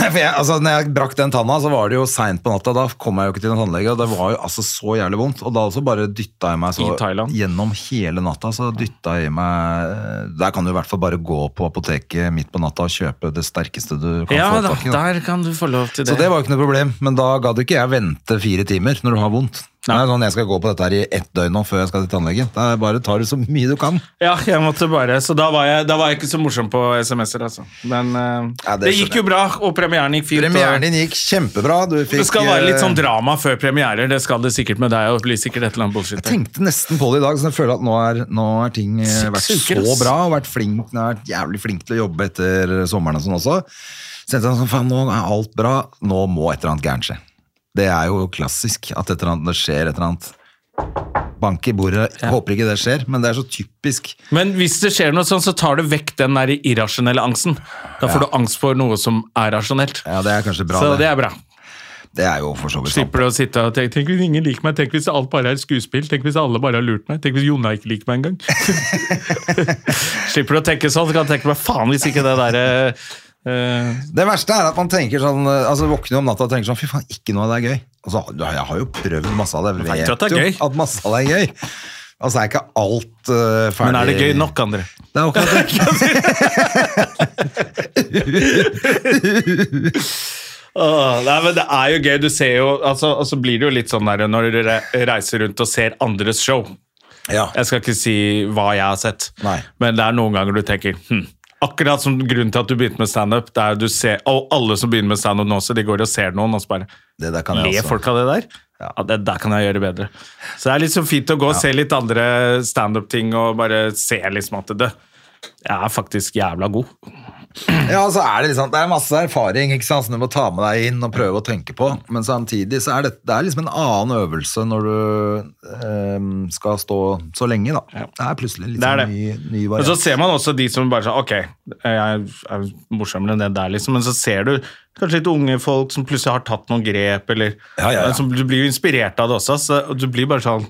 Speaker 2: For jeg, altså, når jeg brakk den tanna, så var det jo seint på natta. Da kom jeg jo ikke til en tannlege, og det var jo altså så jævlig vondt. Og da også bare dytta jeg meg så
Speaker 1: I Thailand.
Speaker 2: gjennom hele natta. Så dytta jeg i meg eh, Der kan du i hvert fall bare gå på apoteket midt på natta og kjøpe det sterkeste du kan
Speaker 1: Ja,
Speaker 2: få
Speaker 1: da,
Speaker 2: tak i. da.
Speaker 1: der kan du få lov til det.
Speaker 2: Så det var jo ikke noe problem, men da gadd ikke jeg vente fire timer når du har vondt. Det er sånn, Jeg skal gå på dette her i ett døgn nå før jeg skal til tannlegen. Da bare tar du så mye du kan.
Speaker 1: Ja, jeg måtte bare, så da var jeg, da var jeg ikke så morsom på SMS-er, altså. Men eh,
Speaker 2: Ja,
Speaker 1: det,
Speaker 2: det skjønner
Speaker 1: gikk jo bra, og premieren gikk fint. og-
Speaker 2: Premieren din gikk kjempebra. Du fikk
Speaker 1: Det skal være litt sånn
Speaker 2: eh,
Speaker 1: drama før premierer, det skal det sikkert med deg, og det blir sikkert et eller annet bullshit. der.
Speaker 2: tenkte nesten på det i dag, så jeg føler at nå er, nå er ting eh,
Speaker 1: Seks
Speaker 2: vært
Speaker 1: uker,
Speaker 2: så
Speaker 1: ass.
Speaker 2: bra, og vært flink, jeg har vært jævlig flink til å jobbe etter sommeren og sånn også. Så tenkte jeg sånn, faen, nå er alt bra, nå må et eller annet gærent skje. Det er jo klassisk at et eller annet, det skjer et eller annet. Bank i bordet, håper ikke det skjer, men det er så typisk.
Speaker 1: Men hvis det skjer noe sånn, så tar det vekk den der irrasjonelle angsten. Da får du angst for noe som er rasjonelt.
Speaker 2: Ja, det er kanskje bra
Speaker 1: så
Speaker 2: det.
Speaker 1: det er bra.
Speaker 2: Det er jo for så vidt sant.
Speaker 1: Slipper du å sitte og tenke Tenk hvis ingen liker meg, tenk hvis alt bare er skuespill, tenk hvis alle bare har lurt meg, tenk hvis Jonna ikke liker meg engang. Slipper du å tenke sånn, så kan du tenke meg faen hvis ikke det eh, derre
Speaker 2: Det verste er at man tenker sånn eh, Altså våkner om natta og tenker sånn Fy faen, ikke noe av det er gøy. Altså, du- jeg har jo prøvd masse av det. Jeg
Speaker 1: vet jo at det er
Speaker 2: jo
Speaker 1: gøy.
Speaker 2: At masse av det er gøy. Altså er ikke alt eh, ferdig
Speaker 1: Men er det gøy nok, André?
Speaker 2: Det er jo ikke det.
Speaker 1: Åh, nei, men det er jo gøy. Du ser jo altså, Og så blir det jo litt sånn der når du re- reiser rundt og ser andres show.
Speaker 2: Ja.
Speaker 1: Jeg skal ikke si hva jeg har sett,
Speaker 2: Nei.
Speaker 1: men det er noen ganger du tenker hm. Akkurat som grunnen til at du begynte med standup. det er du ser- Og alle som begynner med standup nå, så de går og ser noen og så bare
Speaker 2: Det der kan jeg
Speaker 1: Le
Speaker 2: også.
Speaker 1: folk av det der?
Speaker 2: altså. Ja.
Speaker 1: Ja. det der kan jeg gjøre bedre. Så det er liksom fint å gå og se litt andre standup-ting og bare se liksom at det Jeg er faktisk jævla god.
Speaker 2: Ja, så er det liksom, det er masse erfaring ikke sant, som du må ta med deg inn og prøve å tenke på, men samtidig så er det, det er liksom en annen øvelse når du ehm, skal stå så lenge, da. Det er plutselig litt
Speaker 1: Det er det.
Speaker 2: sånn ny, ny
Speaker 1: Men så
Speaker 2: variant.
Speaker 1: ser man også de som bare sånn Ok, jeg er morsommere enn det der, liksom. Men så ser du kanskje litt unge folk som plutselig har tatt noen grep, eller
Speaker 2: Ja, ja, ja.
Speaker 1: Som, Du blir jo inspirert av det også, så du blir bare sånn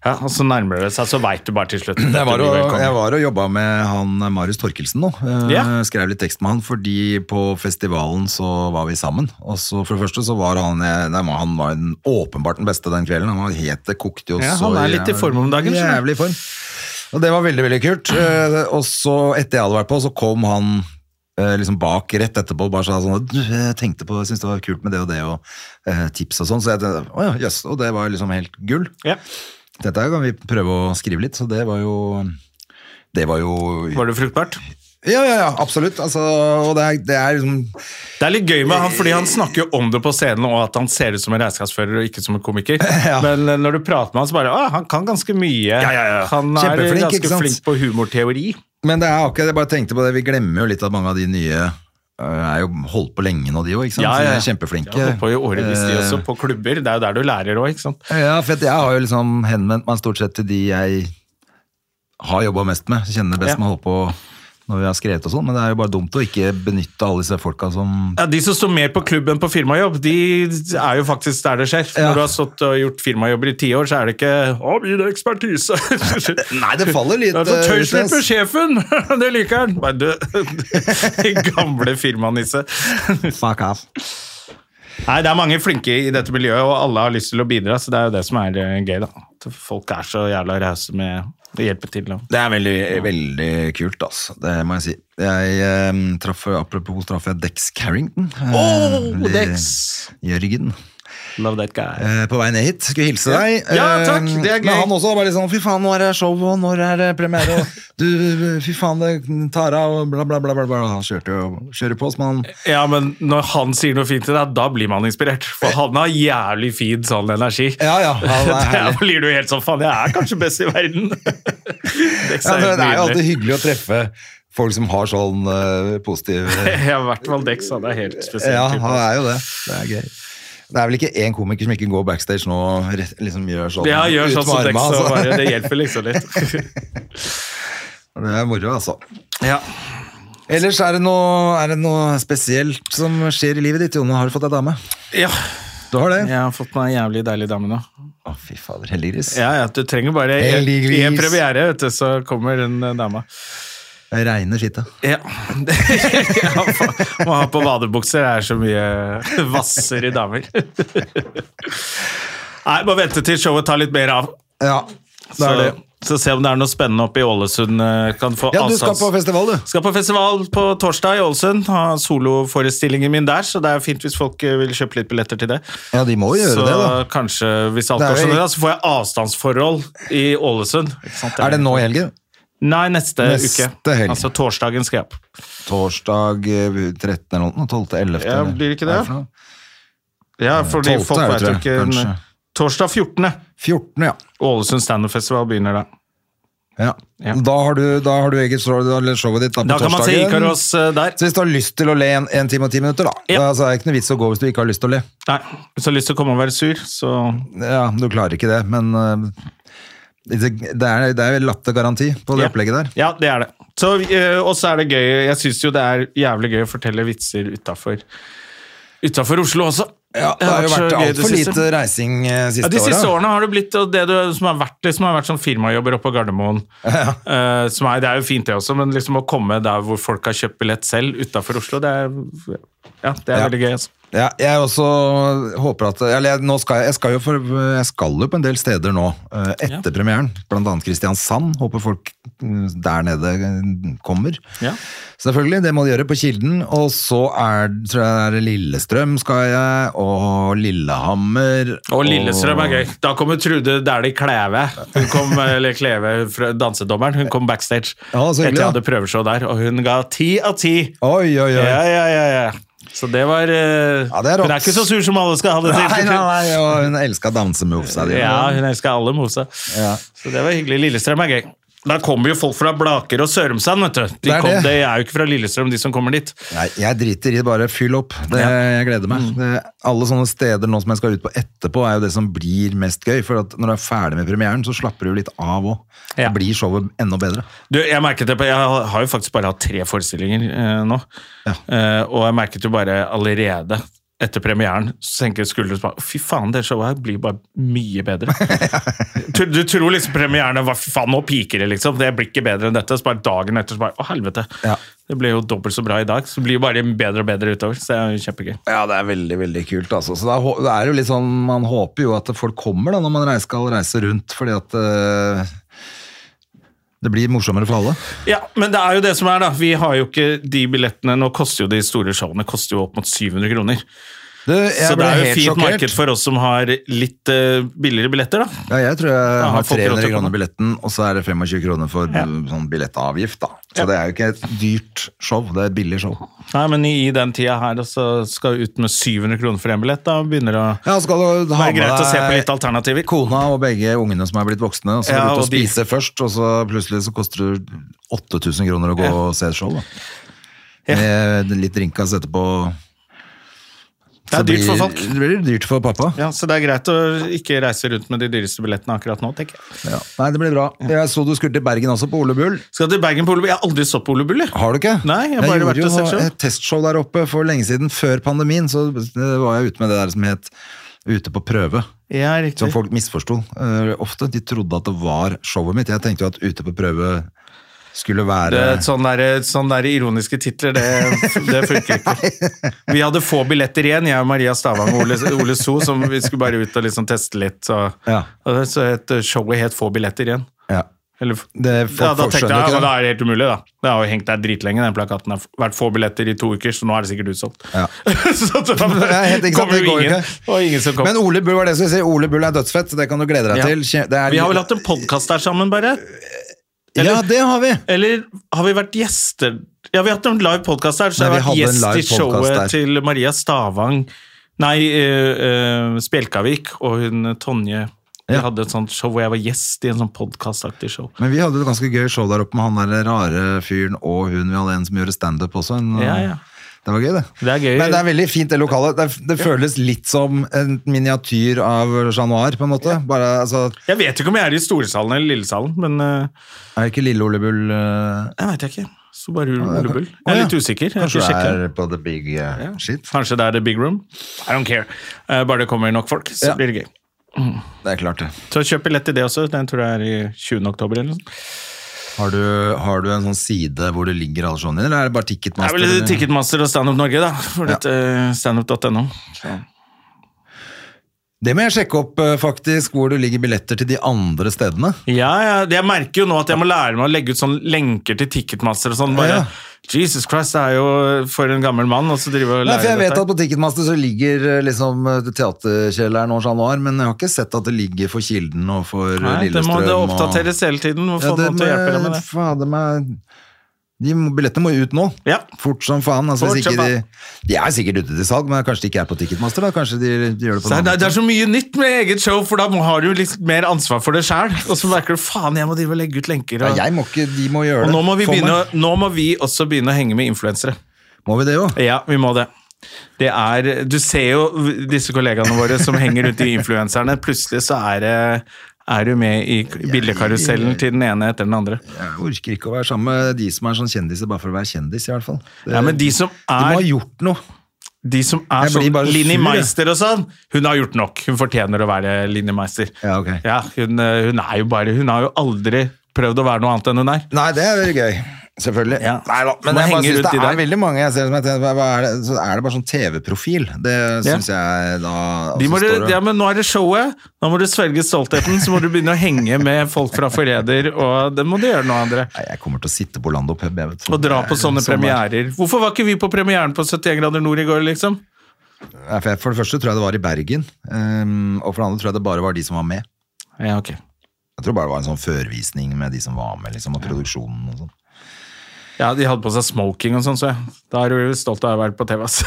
Speaker 1: ja, Og så nærmer det seg, så veit du bare til slutt.
Speaker 2: Jeg var,
Speaker 1: Dette blir
Speaker 2: og,
Speaker 1: velkommen.
Speaker 2: jeg var og jobba med han eh, Marius Torkelsen nå. Eh,
Speaker 1: Ja.
Speaker 2: Skrev litt tekst med han, fordi på festivalen så var vi sammen. Og så For det første så var han eh, nei, Han var en, åpenbart den beste den kvelden. Han var helt det kokte jo
Speaker 1: Ja,
Speaker 2: så
Speaker 1: han er litt i form om dagen, skjønner
Speaker 2: Jævlig i form. Og det var veldig, veldig kult. Eh, Og så, etter jeg hadde vært på, så kom han eh, liksom bak rett etterpå og bare sa sånn Du, jeg tenkte på, jeg syntes det var kult med det og det, og eh, tips og sånn. Så jeg tenkte, å ja, jøss. Og det var liksom helt gull.
Speaker 1: ja.
Speaker 2: Dette her kan vi prøve å skrive litt, så det var jo Det var jo
Speaker 1: var det fruktbart?
Speaker 2: Ja, ja, ja, absolutt. Altså, og det er, det er liksom
Speaker 1: Det er litt gøy med han, fordi han snakker jo om det på scenen, og at han ser ut som en regnskapsfører og ikke som en komiker. Men eh, når du prater med han, så bare «Å, han kan ganske mye.
Speaker 2: ja, ja.
Speaker 1: Han er
Speaker 2: Kjempeflink, ikke
Speaker 1: ganske
Speaker 2: sant?
Speaker 1: flink på humorteori.
Speaker 2: Men det er akkurat, jeg bare tenkte på det, vi glemmer jo litt at mange av de nye øh, er jo holdt på lenge nå, de òg, ikke sant?
Speaker 1: Ja,
Speaker 2: Så
Speaker 1: ja.
Speaker 2: De er kjempeflinke.
Speaker 1: Ja, på i årevis, de også,
Speaker 2: Eh,
Speaker 1: på klubber. Det er jo der du lærer òg, ikke sant.
Speaker 2: Ja, for at jeg har jo liksom henvendt meg stort sett til de jeg har jobba mest med, kjenner best
Speaker 1: Ja.
Speaker 2: med å holde på når vi har skrevet og sånn, men det er jo bare dumt å ikke benytte alle disse folka som
Speaker 1: Ja, De som står mer på klubb enn på firmajobb, de er jo faktisk der det skjer. For
Speaker 2: Ja.
Speaker 1: Når du har stått og gjort firmajobber i ti år, så er det ikke 'Å, min ekspertise'.
Speaker 2: Nei, det faller litt,
Speaker 1: Ja, så
Speaker 2: eh,
Speaker 1: Tøys
Speaker 2: ut,
Speaker 1: litt med
Speaker 2: ass.
Speaker 1: sjefen! Det liker han! Nei, du Gamle firmanisse.
Speaker 2: Fuck off.
Speaker 1: Nei, det er mange flinke i dette miljøet, og alle har lyst til å bidra, så det er jo det som er eh, gøy, da. At folk er så jævla rause med å hjelpe til. Og.
Speaker 2: Det er veldig, veldig kult, altså. Det må jeg si. Jeg eh, traff, apropos traff jeg Dex Carrington. Eh, eller
Speaker 1: Oh, Dex!
Speaker 2: Jørgen.
Speaker 1: Love that guy.
Speaker 2: Eh, på vei ned hit. Skulle hilse deg.
Speaker 1: Ja,
Speaker 2: Eh,
Speaker 1: takk, det er gøy.
Speaker 2: Men han også var litt sånn Fy faen, nå er det show, og når er det premiere? Og du, fy faen, det tar av, og bla, bla, bla. bla, bla. Han kjørte jo kjører på som han
Speaker 1: Ja, men når han sier noe fint til deg, da blir man inspirert. For han har jævlig fin sånn energi.
Speaker 2: Ja, ja. Han er
Speaker 1: Der
Speaker 2: herlig.
Speaker 1: blir du helt sånn faen, jeg er kanskje best i verden. Dex
Speaker 2: Ja,
Speaker 1: er
Speaker 2: det er
Speaker 1: helt
Speaker 2: jo alltid
Speaker 1: nydelig.
Speaker 2: hyggelig å treffe folk som har sånn eh, positiv
Speaker 1: Ja, i hvert fall Dex. Han er helt spesiell.
Speaker 2: Ja,
Speaker 1: type,
Speaker 2: han
Speaker 1: altså.
Speaker 2: er jo det. Det er gøy. Det er vel ikke én komiker som ikke går backstage nå og rett- liksom gjør sånn.
Speaker 1: Ja, gjør
Speaker 2: ut
Speaker 1: sånn
Speaker 2: med
Speaker 1: som Dex,
Speaker 2: armene,
Speaker 1: så
Speaker 2: altså.
Speaker 1: bare, det hjelper liksom litt.
Speaker 2: Det er moro, altså.
Speaker 1: Ja.
Speaker 2: Ellers er det, noe, er det noe spesielt som skjer i livet ditt, Jone? Har du fått deg dame?
Speaker 1: ja.
Speaker 2: Du har det?
Speaker 1: Jeg har fått meg en jævlig deilig dame nå.
Speaker 2: Å, fy fader, heldiggris.
Speaker 1: Ja, ja, du trenger bare en
Speaker 2: Heldiggris.
Speaker 1: en premiere, vet du, så kommer den eh, dama.
Speaker 2: Jeg regner skittet.
Speaker 1: Ja. ja faen. Må ha på badebukser, det er så mye vasser i damer. Nei, må vente til showet tar litt mer av.
Speaker 2: Ja, det
Speaker 1: Så,
Speaker 2: er det.
Speaker 1: så se om det er noe spennende oppe i Ålesund. eh, Kan få
Speaker 2: Ja, du skal
Speaker 1: avstands-
Speaker 2: på festival, du.
Speaker 1: skal på festival på torsdag i Ålesund. Ha soloforestillingen min der, så det er fint hvis folk eh, vil kjøpe litt billetter til det.
Speaker 2: Ja, de må jo gjøre
Speaker 1: så
Speaker 2: det, da.
Speaker 1: kanskje, hvis alt
Speaker 2: Det er
Speaker 1: går
Speaker 2: jo
Speaker 1: sånn,
Speaker 2: ikke-
Speaker 1: da, så får jeg avstandsforhold i Ålesund. Ikke sant?
Speaker 2: Er det nå i helgen?
Speaker 1: Nei, neste,
Speaker 2: Neste
Speaker 1: uke.
Speaker 2: helg.
Speaker 1: Altså torsdagen skal jeg opp.
Speaker 2: Torsdag eh, 13. eller noe? 12. 11.
Speaker 1: Ja,
Speaker 2: eller?
Speaker 1: blir det ikke
Speaker 2: Hva er
Speaker 1: det?
Speaker 2: for noe?
Speaker 1: Ja, fordi
Speaker 2: 12.
Speaker 1: folk
Speaker 2: er
Speaker 1: vet
Speaker 2: det,
Speaker 1: jo
Speaker 2: tror
Speaker 1: ikke
Speaker 2: jeg,
Speaker 1: en-
Speaker 2: kanskje.
Speaker 1: Torsdag 14.
Speaker 2: 14., ja.
Speaker 1: Ålesund standup-festival begynner da.
Speaker 2: ja.
Speaker 1: Ja.
Speaker 2: Da, har du, da har du eget show, eller showet ditt da på
Speaker 1: Da kan man se
Speaker 2: torsdagen.
Speaker 1: Ikaros eh, der.
Speaker 2: Så hvis du har lyst til å le en, en time og ti minutter, da,
Speaker 1: Ja.
Speaker 2: da så er det ikke noe vits å gå hvis du ikke har lyst til å le.
Speaker 1: Nei, hvis du har lyst til å komme og være sur, så
Speaker 2: Ja, Du klarer ikke det, men øh, det, det er, det er vel lattergaranti på det
Speaker 1: Ja.
Speaker 2: opplegget der.
Speaker 1: Ja, det er det. Så, eh, og så er det gøy Jeg syns jo det er jævlig gøy å fortelle vitser utafor Utafor Oslo også.
Speaker 2: Ja, det
Speaker 1: har
Speaker 2: har jo
Speaker 1: vært
Speaker 2: vært
Speaker 1: så gøy det
Speaker 2: altfor
Speaker 1: siste.
Speaker 2: lite reising eh, siste,
Speaker 1: Ja, de siste
Speaker 2: åra.
Speaker 1: årene har det blitt og det du, som har vært, liksom, har vært sånn firmajobber oppe på Gardermoen. Eh, som er, det er jo fint, det også, men liksom å komme der hvor folk har kjøpt billett selv utafor Oslo, det er, ja, det er
Speaker 2: Ja.
Speaker 1: veldig gøy. Altså.
Speaker 2: Ja, jeg også håper at Eller jeg, nå skal jeg, jeg, skal jo for, jeg skal jo på en del steder nå eh, etter premieren. Blant annet Kristiansand. Håper folk mm, der nede eh, kommer.
Speaker 1: Ja.
Speaker 2: Selvfølgelig, det må de gjøre på Kilden. Og så er tror jeg det er Lillestrøm skal jeg, og Lillehammer.
Speaker 1: Og Lillestrøm er gøy. Da kommer Trude Dæhlie Kleve. Hun kom, eller Kleve, fra- dansedommeren. Hun kom backstage
Speaker 2: Ja, så hyggelig,
Speaker 1: etter jeg
Speaker 2: ja.
Speaker 1: hadde prøveshow der, og hun ga ti av ti.
Speaker 2: Oi, oi, oi.
Speaker 1: Ja, ja, ja, ja. Så det var eh,
Speaker 2: Ja, det er rått.
Speaker 1: Hun er ikke så sur som alle skal ha det til.
Speaker 2: Nei, nei, nei, og hun elska dansemovesa dine.
Speaker 1: Ja, hun elsker alle Mose.
Speaker 2: Ja.
Speaker 1: Så det var hyggelig. Lillestrøm er gøy. Da kommer jo folk fra Blaker og Sørumsand, vet du. De
Speaker 2: Det er
Speaker 1: er, kom,
Speaker 2: det.
Speaker 1: de er jo ikke fra Lillestrøm, de som kommer dit.
Speaker 2: Nei, jeg driter i det, bare fyll opp. Det, Jeg gleder
Speaker 1: Mm.
Speaker 2: meg. Det, alle sånne steder nå som jeg skal ut på etterpå, er jo det som blir mest gøy. For at når du er ferdig med premieren, så slapper du litt av òg.
Speaker 1: Ja.
Speaker 2: Da blir showet enda bedre.
Speaker 1: Du, jeg merket det på Jeg har jo faktisk bare hatt tre forestillinger eh, nå. Eh, og jeg merket jo bare allerede etter premieren så tenker jeg skuldre bare, Fy faen, det showet her blir bare mye bedre. du, du tror liksom premieren Hva fy faen, nå piker det, liksom. Det blir ikke bedre enn dette. Så bare dagen etter så bare Å, helvete.
Speaker 2: Ja.
Speaker 1: Det ble jo dobbelt så bra i dag. Så det blir jo bare bedre og bedre utover. Så det er jo kjempegøy.
Speaker 2: Ja, det er veldig, veldig kult, altså. Så da hå- det er jo litt sånn, man håper jo at folk kommer da, når man reis- skal reise rundt, fordi at eh, det blir morsommere for alle.
Speaker 1: Ja, men det er jo det som er, da. Vi har jo ikke de billettene Nå koster jo de store showene koster jo opp mot 700 kroner.
Speaker 2: Du, jeg
Speaker 1: Så det
Speaker 2: ble
Speaker 1: er jo
Speaker 2: helt
Speaker 1: fint
Speaker 2: sjokkert.
Speaker 1: marked for oss som har litt eh, billigere billetter, da.
Speaker 2: Ja, jeg tror jeg
Speaker 1: har
Speaker 2: har
Speaker 1: folk råd til å
Speaker 2: 300
Speaker 1: kjøpe
Speaker 2: kroner
Speaker 1: den.
Speaker 2: billetten, og så er det 25 kroner for mm, sånn billettavgift, da. Så
Speaker 1: Ja.
Speaker 2: det er jo ikke et dyrt show, det er et billig show.
Speaker 1: Nei, men i, i den tida her, og så skal jeg ut med 700 kroner for én billett, da begynner det å
Speaker 2: Ja, så skal du ha
Speaker 1: være
Speaker 2: med
Speaker 1: greit å se på litt
Speaker 2: deg
Speaker 1: alternativer.
Speaker 2: kona og begge ungene som er blitt voksne, og så
Speaker 1: Ja,
Speaker 2: skal du ut og
Speaker 1: og de-
Speaker 2: spise først, og så plutselig så koster det 8000 kroner å gå og se et show, da.
Speaker 1: Ja.
Speaker 2: Med litt drinkas etterpå.
Speaker 1: Det er
Speaker 2: Så
Speaker 1: dyrt for
Speaker 2: blir-
Speaker 1: folk.
Speaker 2: Det blir dyrt for pappa.
Speaker 1: Ja, Så det er greit å ikke reise rundt med de dyreste billettene akkurat nå, tenker jeg.
Speaker 2: Ja. Nei, det blir bra. Jeg så du skulle til Bergen også, på Ole Bull.
Speaker 1: Skal til Bergen på Ole Bull. Jeg har aldri stått på Ole Bull, jeg.
Speaker 2: Har du ikke?
Speaker 1: Nei, jeg har bare vært og
Speaker 2: gjorde
Speaker 1: sett
Speaker 2: jo
Speaker 1: show.
Speaker 2: et testshow der oppe for lenge siden, før pandemien. Så eh, var jeg ute med det der som het Ute på prøve.
Speaker 1: Ja,
Speaker 2: Som
Speaker 1: riktig.
Speaker 2: folk misforsto eh, ofte. De trodde at det var showet mitt. Jeg tenkte jo at Ute på prøve skulle
Speaker 1: Det,
Speaker 2: være
Speaker 1: sånn der, sånn der ironiske titler, det, det funker ikke. Vi hadde få billetter igjen, jeg og Maria Stavang og Ole, Ole So, som vi skulle bare ut og liksom teste litt. Så,
Speaker 2: Ja.
Speaker 1: og så het eh, showet het Få billetter igjen.
Speaker 2: ja.
Speaker 1: Eller,
Speaker 2: Det- folk-
Speaker 1: ja, da
Speaker 2: folk
Speaker 1: tenkte jeg
Speaker 2: skjønner ikke
Speaker 1: ja,
Speaker 2: det.
Speaker 1: men da er det helt umulig, da. Det har jo hengt der dritlenge, den plakaten. Det har vært få billetter i to uker, så nå er det sikkert utsolgt.
Speaker 2: Ja.
Speaker 1: så da
Speaker 2: Ja, helt ikke sant,
Speaker 1: kommer
Speaker 2: det
Speaker 1: jo
Speaker 2: går jo
Speaker 1: ingen.
Speaker 2: ikke.
Speaker 1: Det var ingen som kom.
Speaker 2: Men Ole Bull var det som jeg sier. Ole Bull er dødsfett, det kan du glede deg
Speaker 1: Ja.
Speaker 2: til. Kje- Det er,
Speaker 1: Vi har vel hatt en podkast der sammen, bare?
Speaker 2: Ja, det har vi!
Speaker 1: Eller har vi vært gjester Ja, vi har hatt en live podkast der, så
Speaker 2: Nei,
Speaker 1: jeg
Speaker 2: vi hadde
Speaker 1: har vært
Speaker 2: en
Speaker 1: gjest i
Speaker 2: live podcast
Speaker 1: showet
Speaker 2: der.
Speaker 1: til Maria Stavang Nei, uh, Spjelkavik og hun eh, Tonje. Vi
Speaker 2: Ja.
Speaker 1: hadde et sånt show hvor jeg var gjest i en sånn podkastaktig show.
Speaker 2: Men vi hadde et ganske gøy show der oppe med han der rare fyren og hun. Vi hadde en som gjorde standup også. En, eh,
Speaker 1: Ja, ja.
Speaker 2: Det var gøy, det.
Speaker 1: Det er gøy.
Speaker 2: Men det er veldig fint, det lokalet. Det, det føles litt som en miniatyr av Chat Noir, på en måte. Bare, altså,
Speaker 1: Jeg vet ikke om jeg er i storsalen eller lillesalen, men eh,
Speaker 2: er det ikke Lille Ole Bull eh,
Speaker 1: Jeg veit ikke. Subaru Ole
Speaker 2: Å,
Speaker 1: Bull. Jeg er
Speaker 2: ja.
Speaker 1: litt usikker. Jeg har
Speaker 2: Kanskje
Speaker 1: ikke
Speaker 2: det
Speaker 1: sjekket.
Speaker 2: er på The Big eh, Shit.
Speaker 1: Kanskje det er The Big Room? I don't care. Eh, Bare det kommer nok folk, så
Speaker 2: Ja.
Speaker 1: blir det gøy.
Speaker 2: Det er klart, det.
Speaker 1: Så kjøp billett til det også. Den tror jeg er i 20. oktober. eller noe sånt.
Speaker 2: Har du, har du en sånn side hvor det ligger alle showene dine, eller er det bare
Speaker 1: Det er
Speaker 2: Ticketmaster?
Speaker 1: vel
Speaker 2: eller?
Speaker 1: Ticketmaster og Standup Norge, da. For
Speaker 2: Ja.
Speaker 1: dette eh, standup.no.
Speaker 2: Det må jeg sjekke opp, eh, faktisk, hvor det ligger billetter til de andre stedene.
Speaker 1: Ja, ja, det- jeg merker jo nå at jeg må lære meg å legge ut sånne lenker til Ticketmaster og
Speaker 2: Ja,
Speaker 1: sånn. Bare,
Speaker 2: ja.
Speaker 1: Jesus Christ, det er jo for en gammel mann å drive og
Speaker 2: Nei,
Speaker 1: lære
Speaker 2: for jeg vet
Speaker 1: dette.
Speaker 2: at På Ticketmaster så ligger eh, liksom eh, teaterkjelleren og Chat Noir, men jeg har ikke sett at det ligger for Kilden og for eh,
Speaker 1: Nei, det
Speaker 2: Lillestrøm.
Speaker 1: må det
Speaker 2: og-
Speaker 1: oppdateres hele tiden. Må få noen til å hjelpe deg med det.
Speaker 2: Fader meg de må- Billettene må jo ut nå.
Speaker 1: Ja.
Speaker 2: Fort som faen. Altså,
Speaker 1: Fort
Speaker 2: hvis
Speaker 1: som
Speaker 2: ikke de, de er sikkert ute til salg, men kanskje de ikke er på Ticketmaster. da Kanskje de, de gjør det på
Speaker 1: Så
Speaker 2: en
Speaker 1: det, er,
Speaker 2: annen
Speaker 1: det er så mye nytt med eget show, for da må- har du litt mer ansvar for det sjøl. Og så merker du faen, jeg må drive og legge ut lenker.
Speaker 2: måte.
Speaker 1: Og,
Speaker 2: Ja, jeg må ikke, de må gjøre
Speaker 1: og
Speaker 2: det.
Speaker 1: nå, må vi
Speaker 2: for meg.
Speaker 1: begynne, å- nå må vi også begynne å henge med influensere.
Speaker 2: Må vi det jo?
Speaker 1: Ja, vi må det. Det er, Du ser jo disse kollegaene våre som henger rundt i influenserne. Plutselig så er det er du med i bildekarusellen til den ene etter den andre?
Speaker 2: Jeg orker ikke å være sammen med de som er sånn kjendiser bare for å være kjendis, i hvert fall. Det,
Speaker 1: Ja, men De som
Speaker 2: de må ha
Speaker 1: er
Speaker 2: gjort noe.
Speaker 1: de som er
Speaker 2: Jeg blir
Speaker 1: sånn
Speaker 2: bare
Speaker 1: Linni
Speaker 2: sur, jeg.
Speaker 1: Meister og sånn, hun har gjort nok. Hun fortjener å være Linni Meister.
Speaker 2: Ja, ok.
Speaker 1: hun, eh, hun er jo bare Hun har jo aldri prøvd å være noe annet enn hun er.
Speaker 2: Nei, det er veldig gøy. Selvfølgelig.
Speaker 1: Ja.
Speaker 2: Neida,
Speaker 1: Må
Speaker 2: men jeg bare
Speaker 1: henge
Speaker 2: synes
Speaker 1: rundt
Speaker 2: det
Speaker 1: i
Speaker 2: er
Speaker 1: der.
Speaker 2: veldig mange jeg ser som jeg tenker, hva er det, så er det bare sånn TV-profil. Det
Speaker 1: Ja.
Speaker 2: syns jeg da
Speaker 1: De må,
Speaker 2: altså, står det-
Speaker 1: ja, men nå er det showet. Nå må du svelge stoltheten. Så må du begynne å henge med folk fra Forræder, og det må du gjøre nå, André.
Speaker 2: Nei, jeg kommer til å sitte på Lando pub. Jeg vet,
Speaker 1: Og dra på
Speaker 2: Sommer.
Speaker 1: sånne premierer. Hvorfor var ikke vi på premieren på 71 grader nord i går, liksom?
Speaker 2: Ja, for jeg- For det første tror jeg det var i Bergen, ehm, og for det andre tror jeg det bare var de som var med.
Speaker 1: Ja, ok.
Speaker 2: Jeg tror bare det var en sånn førvisning med de som var med, liksom, og produksjonen og sånn.
Speaker 1: Ja, de hadde på seg smoking og sånn, så jeg. Da er du jo stolt av å ha vært på TV, ass.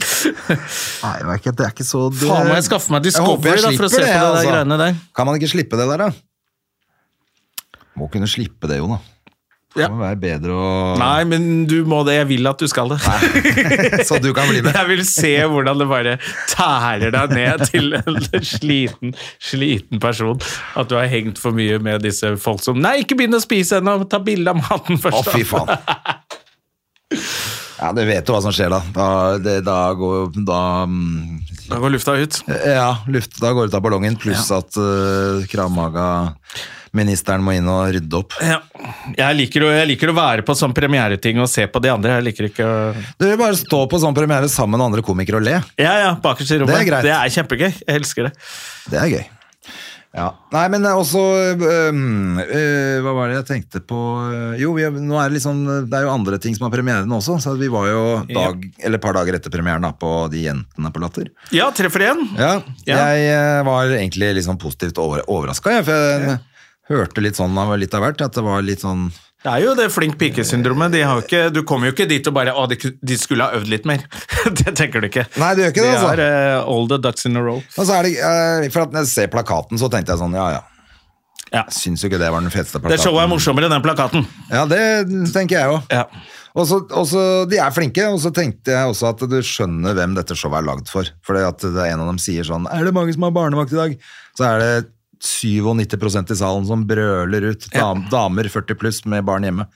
Speaker 2: Nei, jeg vet ikke, det er ikke så det...
Speaker 1: Faen, må jeg skaffe meg Discovery
Speaker 2: Jeg håper jeg
Speaker 1: da, for å se
Speaker 2: slipper altså.
Speaker 1: på det, der greiene der.
Speaker 2: Kan man ikke slippe det der, da? Må kunne slippe det, Jon. da. Det
Speaker 1: Ja.
Speaker 2: må være bedre å
Speaker 1: Nei, men du må det. Jeg vil at du skal det.
Speaker 2: Så du kan bli med.
Speaker 1: Jeg vil se hvordan det bare tærer deg ned til en sliten, sliten person. At du har hengt for mye med disse folk som Nei, ikke begynn å spise ennå! Ta bilde av maten
Speaker 2: Å,
Speaker 1: først.
Speaker 2: fy
Speaker 1: da.
Speaker 2: faen. Ja, du vet jo hva som skjer da. Da, det, da går da, mm,
Speaker 1: Da går lufta ut.
Speaker 2: Ja, luft, da går det ut av ballongen, pluss at uh, kravmaga-ministeren må inn og rydde opp.
Speaker 1: Ja. Jeg, liker å, jeg liker å være på sånn premiereting og se på de andre. Jeg liker ikke å
Speaker 2: Du vil bare stå på sånn premiere sammen med andre komikere og le.
Speaker 1: Ja, ja, bakerst i rommet.
Speaker 2: Det er greit.
Speaker 1: Det er kjempegøy. Jeg elsker det.
Speaker 2: Det er gøy. Ja. Nei, men det er også øhm, øh, Hva var det jeg tenkte på Jo, vi, er- nå er det liksom Det er jo andre ting som har premiere nå også, så vi var jo dag, eller et par dager etter premieren da, på De jentene på Latter.
Speaker 1: Ja, treffer igjen.
Speaker 2: Ja,
Speaker 1: Ja.
Speaker 2: Jeg eh, var egentlig litt sånn positivt over, overraska, jeg. For jeg hørte litt sånn av litt av hvert. At det var litt sånn
Speaker 1: Det er jo det flink pike-syndromet. De har jo ikke, du kommer jo ikke dit og bare Å, de, de skulle ha øvd litt mer. det tenker du ikke.
Speaker 2: Nei, du gjør ikke det, altså.
Speaker 1: Det er eh, all the ducks in a row.
Speaker 2: Og så er det eh, For at når jeg ser plakaten, så tenkte jeg sånn, ja ja.
Speaker 1: Ja.
Speaker 2: Jeg syns jo ikke det var den feteste plakaten.
Speaker 1: Det showet er morsommere enn den plakaten.
Speaker 2: Ja, det tenker jeg jo.
Speaker 1: Ja.
Speaker 2: Og så, og så, De er flinke, og så tenkte jeg også at du skjønner hvem dette showet er lagd for. For det at det er en av dem sier sånn Er det mange som har barnevakt i dag? Så er det 97 i salen som brøler ut. Dam, Damer 40 pluss med barn hjemme.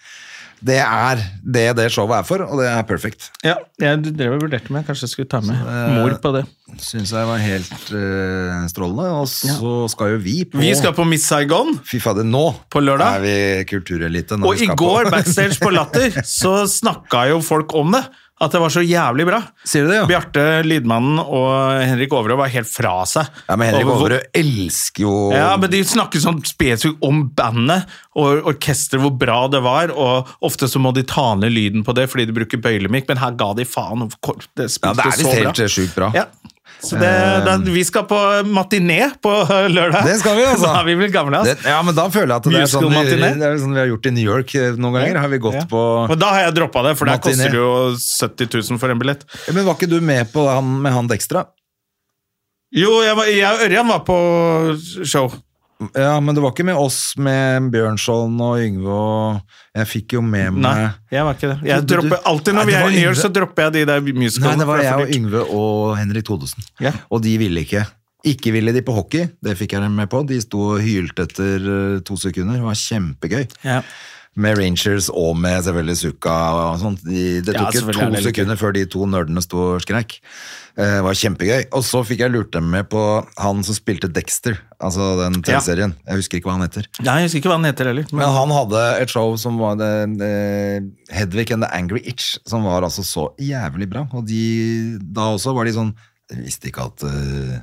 Speaker 2: Det er det det showet er for, og det er perfekt.
Speaker 1: ja. eh, Jeg drev og vurderte om jeg kanskje skulle ta med mor på det.
Speaker 2: Syns jeg var helt eh, strålende. Og så skal jo vi på
Speaker 1: Vi skal på Miss Saigon.
Speaker 2: Fy fader, nå
Speaker 1: På lørdag?
Speaker 2: er vi kulturelite. når
Speaker 1: Og
Speaker 2: vi
Speaker 1: i
Speaker 2: skal på-
Speaker 1: går, backstage på Latter, så snakka jo folk om det. At det var så jævlig bra.
Speaker 2: Sier du det, ja?
Speaker 1: Bjarte Lydmannen og Henrik Overø var helt fra seg.
Speaker 2: Ja, men Henrik
Speaker 1: Over hvor-
Speaker 2: Overø elsker jo
Speaker 1: Ja, men de snakker sånn spesifikt om bandet og orkesteret, hvor bra det var, og ofte så må de ta ned lyden på det fordi de bruker bøylemikk, men her ga de faen. og kor- Det
Speaker 2: Ja,
Speaker 1: spilte
Speaker 2: det er
Speaker 1: så
Speaker 2: visst
Speaker 1: bra.
Speaker 2: helt eh, sjukt bra.
Speaker 1: Ja. Så det, da, vi skal på matiné på eh, lørdag.
Speaker 2: Det skal vi, altså.
Speaker 1: Da er vi vel gamle,
Speaker 2: Det,
Speaker 1: altså.
Speaker 2: ja, men da føler jeg at det er, sånn vi,
Speaker 1: Musical-matiné?
Speaker 2: det er sånn vi har gjort i New York eh, noen ganger. Har vi gått
Speaker 1: Ja.
Speaker 2: på
Speaker 1: Og da har jeg droppa det, for der
Speaker 2: Matiné.
Speaker 1: koster det jo 70 000 for en billett.
Speaker 2: Men var ikke du med på han med han Dextra?
Speaker 1: Jo, jeg, var, jeg og Ørjan var på show.
Speaker 2: Ja, men du var ikke med oss med Bjørnson og Yngve og Jeg fikk jo med
Speaker 1: Nei,
Speaker 2: meg
Speaker 1: jeg var ikke det. Jeg
Speaker 2: Du- du-
Speaker 1: dropper,
Speaker 2: Nei,
Speaker 1: alltid når vi
Speaker 2: det
Speaker 1: er
Speaker 2: var
Speaker 1: i New York,
Speaker 2: Yngve.
Speaker 1: så dropper jeg de der
Speaker 2: Nei,
Speaker 1: musicalene.
Speaker 2: det
Speaker 1: for
Speaker 2: var
Speaker 1: det er
Speaker 2: jeg
Speaker 1: for
Speaker 2: og
Speaker 1: dyrt.
Speaker 2: Yngve og Henrik Thodesen.
Speaker 1: Ja.
Speaker 2: Og de ville ikke. Ikke ville de på hockey, det fikk jeg dem med på. De sto og hylte etter eh, to sekunder. Det var kjempegøy.
Speaker 1: Ja.
Speaker 2: Med Rangers og med selvfølgelig Zucca og sånt. De, det
Speaker 1: Ja,
Speaker 2: tok jo
Speaker 1: selvfølgelig er
Speaker 2: to
Speaker 1: det litt
Speaker 2: sekunder før de to nerdene sto og skreik. Eh, Det var kjempegøy. Og så fikk jeg lurt dem med på han som spilte Dexter, altså den TV-serien. Jeg husker ikke hva han heter.
Speaker 1: Nei, jeg husker ikke hva han heter heller.
Speaker 2: Men han hadde et show som var det, eh, Hedvig and the Angry Itch, som var altså så jævlig bra. Og de, da også var de sånn Jeg visste ikke at eh,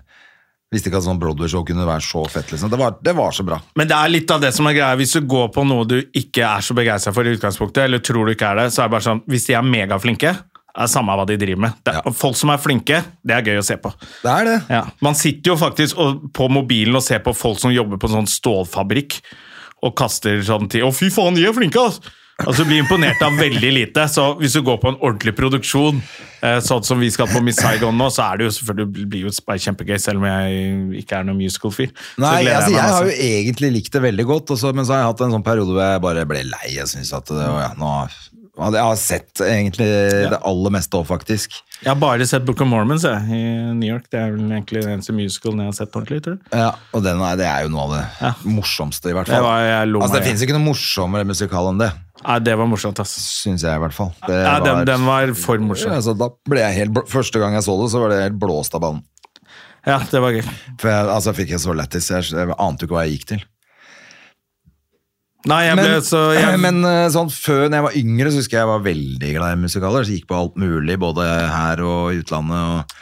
Speaker 2: Visste ikke at sånn Broadway-show kunne være så fett, liksom. Det var, det var så bra.
Speaker 1: Men det er litt av det som er greia. Hvis du går på noe du ikke er så begeistra for i utgangspunktet, eller tror du ikke er det, så er det bare sånn Hvis de er megaflinke, er det samme hva de driver med. Det,
Speaker 2: Ja.
Speaker 1: og Folk som er flinke, det er gøy å se på.
Speaker 2: Det er det.
Speaker 1: Ja. Man sitter jo faktisk og, på mobilen og ser på folk som jobber på en sånn stålfabrikk, og kaster sånn til Å, fy faen, de er flinke, ass! Altså, blir imponert av veldig lite. Så hvis du går på en ordentlig produksjon, eh, sånn som vi skal på Miss Saigon nå, så er det jo selvfølgelig det blir jo bare kjempegøy, selv om jeg ikke er noen musical-fyr. Så
Speaker 2: Nei, jeg,
Speaker 1: gleder jeg
Speaker 2: altså,
Speaker 1: meg
Speaker 2: jeg har
Speaker 1: masse.
Speaker 2: jo egentlig likt det veldig godt, og så- men så har jeg hatt en sånn periode hvor jeg bare ble lei. Jeg synes at det, var- ja, nå, ja, jeg har sett egentlig det aller meste òg, faktisk.
Speaker 1: Jeg har bare sett Book of Mormons jeg, i New York. Det er vel egentlig den eneste musicalen jeg har sett ordentlig. tror jeg.
Speaker 2: Ja, og den er, det er jo noe av det morsomste, i hvert fall.
Speaker 1: Det var- jeg lo
Speaker 2: altså, det
Speaker 1: meg i.
Speaker 2: finnes ikke noe morsommere musikal enn det.
Speaker 1: Nei, det var morsomt, ass.
Speaker 2: Syns jeg, i hvert fall. Det
Speaker 1: Nei, den, den var for morsom.
Speaker 2: altså, da ble jeg helt, bl- Første gang jeg så det, så var det helt blåst av banen.
Speaker 1: Ja, det var gøy.
Speaker 2: For jeg, altså, fikk jeg så lættis. Jeg, jeg ante jo ikke hva jeg gikk til.
Speaker 1: Nei, jeg ble
Speaker 2: Men-
Speaker 1: så jeg,
Speaker 2: Men eh, sånn før når jeg var yngre, så husker jeg jeg var veldig glad i musikaler. Så jeg gikk på alt mulig, både her og i utlandet.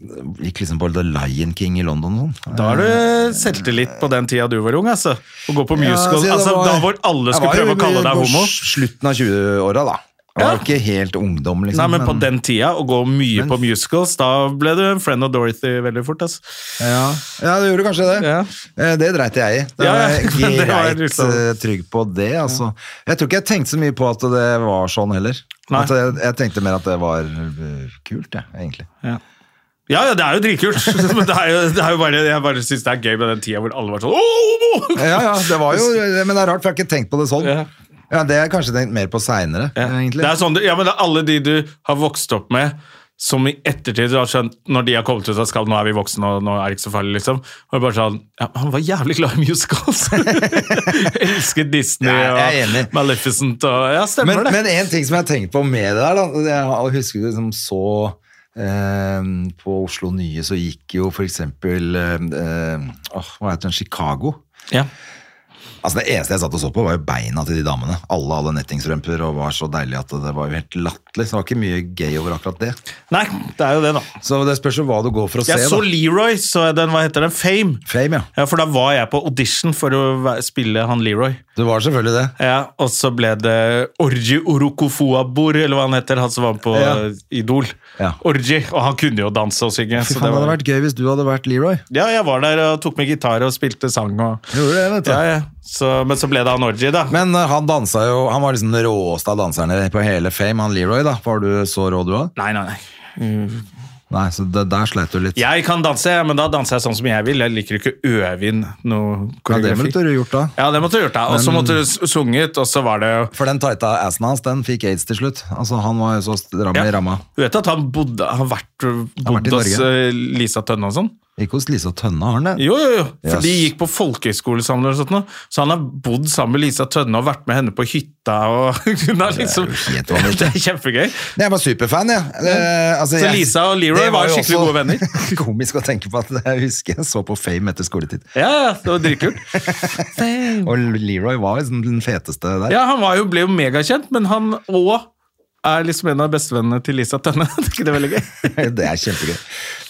Speaker 2: Og gikk liksom på The Lion King i London og sånn.
Speaker 1: Da har du selvtillit på den tida du var ung, altså. Å gå på
Speaker 2: Ja, så
Speaker 1: musical.
Speaker 2: det
Speaker 1: altså,
Speaker 2: var-
Speaker 1: da hvor alle
Speaker 2: Jeg
Speaker 1: skulle
Speaker 2: var jo
Speaker 1: prøve å kalle
Speaker 2: på
Speaker 1: deg homo.
Speaker 2: Slutten av 20-åra, da. Jeg var
Speaker 1: Ja.
Speaker 2: ikke helt ungdom, liksom.
Speaker 1: Nei, men på den tida, å gå mye på musicals, da ble du en friend of Dorothy veldig fort, altså. ass.
Speaker 2: Ja, ja du gjorde kanskje det.
Speaker 1: Ja.
Speaker 2: Eh, Det dreit jeg i. Det
Speaker 1: Ja,
Speaker 2: var
Speaker 1: ja.
Speaker 2: jeg
Speaker 1: Det var
Speaker 2: greit
Speaker 1: liksom-
Speaker 2: eh, trygg på det, altså. Jeg tror ikke jeg tenkte så mye på at det var sånn heller.
Speaker 1: Nei.
Speaker 2: At jeg, jeg tenkte mer at det var eh, kult, jeg, egentlig.
Speaker 1: Ja, ja, det er jo dritkult! Men det er jo, det er jo bare, jeg bare syns det er gøy med den tida hvor alle var sånn Å, homo!
Speaker 2: Ja, ja, det var jo, men det er rart, for jeg har ikke tenkt på det sånn.
Speaker 1: Ja.
Speaker 2: Ja, Det har jeg kanskje tenkt mer på seinere,
Speaker 1: Ja.
Speaker 2: egentlig.
Speaker 1: Det er sånn, du- ja, men det er alle de du har vokst opp med, som i ettertid du har skjønt når de har kommet ut av skall, nå er vi voksne og nå er det ikke så farlig, liksom. Og det er bare sånn, ja, Han var jævlig glad i musicals! Elsket Disney
Speaker 2: Nei, jeg er enig.
Speaker 1: og Maleficent og Ja, stemmer
Speaker 2: men,
Speaker 1: det.
Speaker 2: men en ting som jeg har tenkt på med det der, da, det er- jeg husker du liksom så eh, På Oslo Nye så gikk jo for eksempel eh, eh, åh, Hva heter den? Chicago.
Speaker 1: ja.
Speaker 2: Altså Det eneste jeg satt og så på, var jo beina til de damene. Alle hadde nettingsrømper og var så deilige at det var jo helt latterlig. Så det var ikke mye gøy over akkurat det.
Speaker 1: Nei, det er jo det, da.
Speaker 2: Så det spørs jo hva du går for å
Speaker 1: Jeg
Speaker 2: se.
Speaker 1: så
Speaker 2: da.
Speaker 1: Leroy, så jeg den, hva heter den? Fame.
Speaker 2: Fame, ja.
Speaker 1: Ja, For da var jeg på audition for å væ- spille han Leroy.
Speaker 2: Det var selvfølgelig det.
Speaker 1: Ja, Og så ble det Orji Orokofoabor, eller hva han heter, han som var på
Speaker 2: Ja.
Speaker 1: eh, Idol.
Speaker 2: Ja.
Speaker 1: Orji, og han kunne jo danse og synge.
Speaker 2: Fy
Speaker 1: så
Speaker 2: faen, det hadde vært gøy hvis du hadde vært Leroy.
Speaker 1: Ja, jeg var der og tok med gitar og spilte sang. og...
Speaker 2: Gjorde det, vet du.
Speaker 1: Ja, ja. Så, men så ble det han Orji, da.
Speaker 2: Men eh, han dansa jo Han var liksom den råeste av danserne på hele Fame, han Leroy. da Var du så rå du òg?
Speaker 1: Nei, nei, nei.
Speaker 2: Nei, så det, der sleit du litt.
Speaker 1: Jeg kan danse, men da danser jeg sånn som jeg vil. Jeg liker ikke å øve inn noe
Speaker 2: Ja, det
Speaker 1: koreografi.
Speaker 2: måtte du gjort da.
Speaker 1: Ja, det måtte du gjort, da. Og så måtte du s- sunget, og så var det jo
Speaker 2: For den tighta assen hans, den fikk aids til slutt. Altså, han var jo så stram i
Speaker 1: Ja.
Speaker 2: ramma.
Speaker 1: Du vet at han bodde, har vært,
Speaker 2: vært i
Speaker 1: bodd hos
Speaker 2: Norge.
Speaker 1: eh, Lisa Tønne og sånn?
Speaker 2: Ikke hos Lise og Tønne, har han det?
Speaker 1: Jo, jo, jo. For
Speaker 2: Yes.
Speaker 1: de gikk på folkehøyskole sammen, og sånt, nå. så han har bodd sammen med Lisa Tønne og vært med henne på hytta. Og hun har liksom,
Speaker 2: helt
Speaker 1: det, er
Speaker 2: vanvittig.
Speaker 1: kjempegøy.
Speaker 2: Nei, Jeg var superfan, jeg. Eh, altså,
Speaker 1: Så
Speaker 2: jeg-
Speaker 1: Lisa og Leroy
Speaker 2: Det
Speaker 1: var
Speaker 2: jo
Speaker 1: skikkelig
Speaker 2: også
Speaker 1: gode venner.
Speaker 2: Komisk å tenke på at det- jeg husker jeg så på Fame etter skoletid.
Speaker 1: Ja, ja, det var dritkult.
Speaker 2: Og Leroy var liksom den feteste der.
Speaker 1: Ja, han var jo, ble jo megakjent, men han òg er liksom en av bestevennene til Lisa Tønne. Det er ikke det veldig gøy?
Speaker 2: Det er kjempegøy.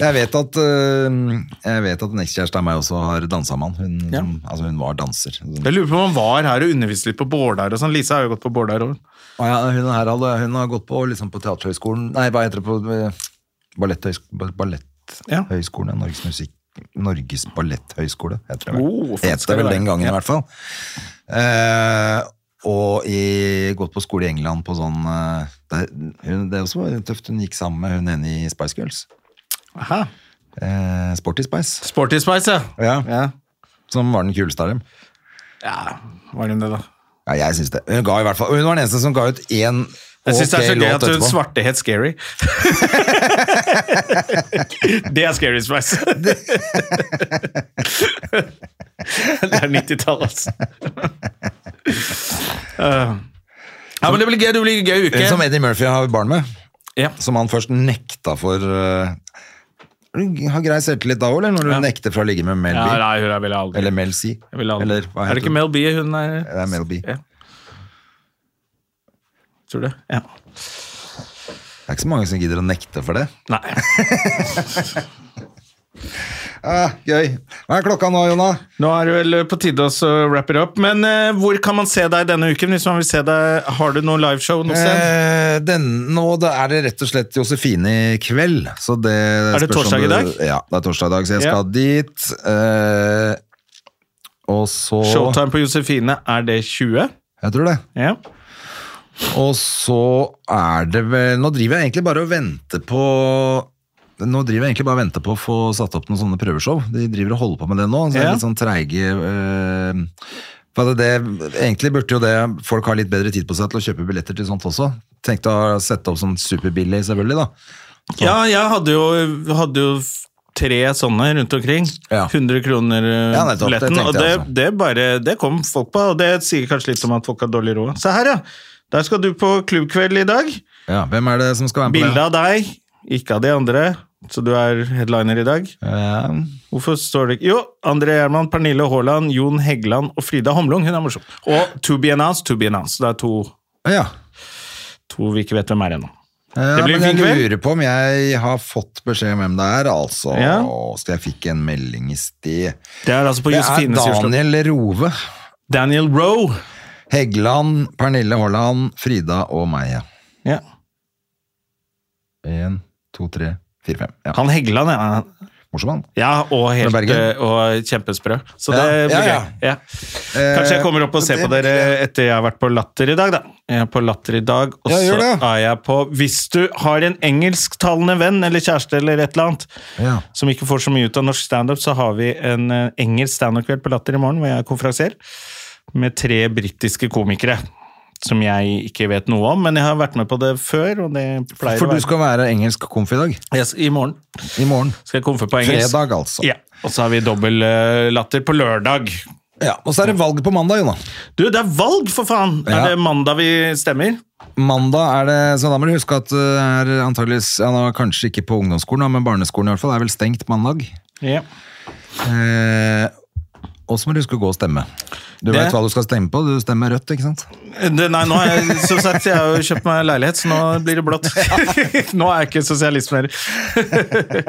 Speaker 2: Jeg vet at, eh, jeg vet at en ekskjæreste av meg også har dansa med han. Hun,
Speaker 1: Ja.
Speaker 2: altså, hun var danser. Hun,
Speaker 1: Jeg lurer på om han var her og underviste litt på Bårdar og sånn. Lisa har jo gått på Bårdar òg.
Speaker 2: Å ja, hun, her, hadde- hun har gått på, liksom, på teaterhøgskolen Nei, hva heter det på eh, balletthøysk- ba-
Speaker 1: Ja.
Speaker 2: Balletthøgskolen? Norges musikk... Norges balletthøgskole, heter det vel.
Speaker 1: Oh, faen,
Speaker 2: het
Speaker 1: skal
Speaker 2: det
Speaker 1: det
Speaker 2: vel
Speaker 1: være.
Speaker 2: den gangen, i hvert fall. Eh, og i, gått på skole i England på sånn eh, det, hun, det også var tøft. Hun gikk sammen med hun ene i Spice Girls. Eh, Sporty Spice,
Speaker 1: Sporty Spice, ja.
Speaker 2: Ja.
Speaker 1: ja.
Speaker 2: som var den kuleste av dem.
Speaker 1: Ja, var hun det, da?
Speaker 2: Ja, jeg synes det. Hun, ga i hvert fall, hun var den eneste som ga ut én
Speaker 1: Jeg syns det er så
Speaker 2: ok
Speaker 1: gøy
Speaker 2: låt
Speaker 1: at hun
Speaker 2: etterpå.
Speaker 1: svarte het Scary. det er Scary Spice. det er 90-tallet, altså. Uh, ja, men det blir gøy. Det blir en gøy
Speaker 2: Eh. Hun som
Speaker 1: uke.
Speaker 2: Eddie Murphy har barn med.
Speaker 1: Ja.
Speaker 2: Som han først nekta for eh, Du har grei selvtillit da òg, eller? Når du
Speaker 1: Ja.
Speaker 2: nekter for å ligge med Mel
Speaker 1: Ja,
Speaker 2: B.
Speaker 1: nei, hun er vel aldri.
Speaker 2: eller Mel C.
Speaker 1: Jeg vil aldri.
Speaker 2: Eller hva
Speaker 1: er det
Speaker 2: heter
Speaker 1: ikke
Speaker 2: hun?
Speaker 1: Mel B hun er?
Speaker 2: Det er Mel B.
Speaker 1: Ja. Tror du det? Ja.
Speaker 2: Det er ikke så mange som gidder å nekte for det.
Speaker 1: Nei.
Speaker 2: Ah, gøy. Hva er klokka nå, Jonna?
Speaker 1: Nå er det vel på tide å så wrap it up. Men eh, hvor kan man se deg denne uken? hvis man vil se deg? Har du noe liveshow noe sted?
Speaker 2: Eh, den, nå da er det rett og slett Josefine i kveld. Så det
Speaker 1: det
Speaker 2: spørs om
Speaker 1: torsdag i
Speaker 2: du-
Speaker 1: dag?
Speaker 2: Ja, det er torsdag i dag, så jeg skal
Speaker 1: Ja.
Speaker 2: dit. Eh, og så
Speaker 1: Showtime på Josefine, er det 20?
Speaker 2: Jeg tror det.
Speaker 1: Ja.
Speaker 2: Og så er det vel Nå driver jeg egentlig bare og venter på nå driver jeg egentlig bare og venter på å få satt opp noen sånne prøveshow. De driver og holder på med det nå. så jeg er
Speaker 1: Ja.
Speaker 2: litt sånn treige. Øh, for at det, egentlig burde jo det folk har litt bedre tid på seg til å kjøpe billetter til sånt også. Tenkte å sette opp sånn superbillig, selvfølgelig. da.
Speaker 1: ja, jeg hadde jo, hadde jo f- tre sånne rundt omkring.
Speaker 2: Ja.
Speaker 1: 100 kroner eh,
Speaker 2: Ja, nettopp, det
Speaker 1: billetten.
Speaker 2: tenkte
Speaker 1: og det,
Speaker 2: jeg også.
Speaker 1: det, bare, det kom folk på, og det sier kanskje litt om at folk har dårlig råd. Se her, ja! Der skal du på klubbkveld i dag.
Speaker 2: Ja, hvem er det som skal være med på
Speaker 1: Bilde av deg, ikke av de andre. Så du er headliner i dag.
Speaker 2: det? Ja.
Speaker 1: Hvorfor står det ikke Jo, André Gjerman, Pernille Haaland, Jon Heggeland og Frida Homlung. Hun er morsom. Og To Be Announced, To Be Announced. Det er to,
Speaker 2: ja.
Speaker 1: to vi ikke vet hvem er ennå.
Speaker 2: Ja,
Speaker 1: Det blir en
Speaker 2: men
Speaker 1: fin
Speaker 2: jeg
Speaker 1: kveld.
Speaker 2: lurer på om jeg har fått beskjed om hvem det er, altså.
Speaker 1: Ja.
Speaker 2: Så jeg fikk en melding i sted.
Speaker 1: Det er altså på
Speaker 2: Det er
Speaker 1: Josefines i Oslo.
Speaker 2: Daniel Rove.
Speaker 1: Daniel Roe.
Speaker 2: Heggeland, Pernille Haaland, Frida og meg. ja.
Speaker 1: Ja.
Speaker 2: En, to, tre, fire, fem. Ja.
Speaker 1: Han Heggeland, ja.
Speaker 2: Morsom, han.
Speaker 1: ja og,
Speaker 2: Fra
Speaker 1: helt,
Speaker 2: Bergen.
Speaker 1: eh, og kjempesprø. Så
Speaker 2: Ja,
Speaker 1: det
Speaker 2: ja,
Speaker 1: blir gøy.
Speaker 2: ja.
Speaker 1: Ja. Kanskje
Speaker 2: Eh,
Speaker 1: jeg kommer opp og ser på dere etter jeg har vært på Latter i dag, da. Jeg er på Latter i dag, og
Speaker 2: Ja,
Speaker 1: så
Speaker 2: gjør det.
Speaker 1: er jeg på Hvis du har en engelsktalende venn eller kjæreste eller et eller annet,
Speaker 2: Ja.
Speaker 1: som ikke får så mye ut av norsk standup, så har vi en eh, engelsk standup-kveld på Latter i morgen, hvor jeg er konferansier, med tre britiske komikere. Som jeg ikke vet noe om, men jeg har vært med på det før. og det pleier
Speaker 2: For du
Speaker 1: å være.
Speaker 2: skal være engelsk komf i dag?
Speaker 1: Yes, I morgen
Speaker 2: I morgen.
Speaker 1: skal jeg konfe på engelsk.
Speaker 2: Fredag, altså.
Speaker 1: Ja, Og så har vi dobbel eh, latter på lørdag.
Speaker 2: Ja, Og så er det valg på mandag, Jonna.
Speaker 1: Du, det er valg, for faen!
Speaker 2: Ja.
Speaker 1: Er det mandag vi stemmer?
Speaker 2: Mandag er det, så da må du huske at uh, er antageligvis, ja, nå, kanskje ikke på ungdomsskolen, da, men barneskolen i hvert fall, er vel stengt mandag.
Speaker 1: Ja.
Speaker 2: Eh, og så må du huske å gå og stemme. Du
Speaker 1: Det-
Speaker 2: vet hva du skal stemme på, du stemmer rødt, ikke sant?
Speaker 1: Eh, Det, nei, nå har jeg som sagt, jeg har jo kjøpt meg leilighet, så nå blir det blått. nå er jeg ikke sosialist mer.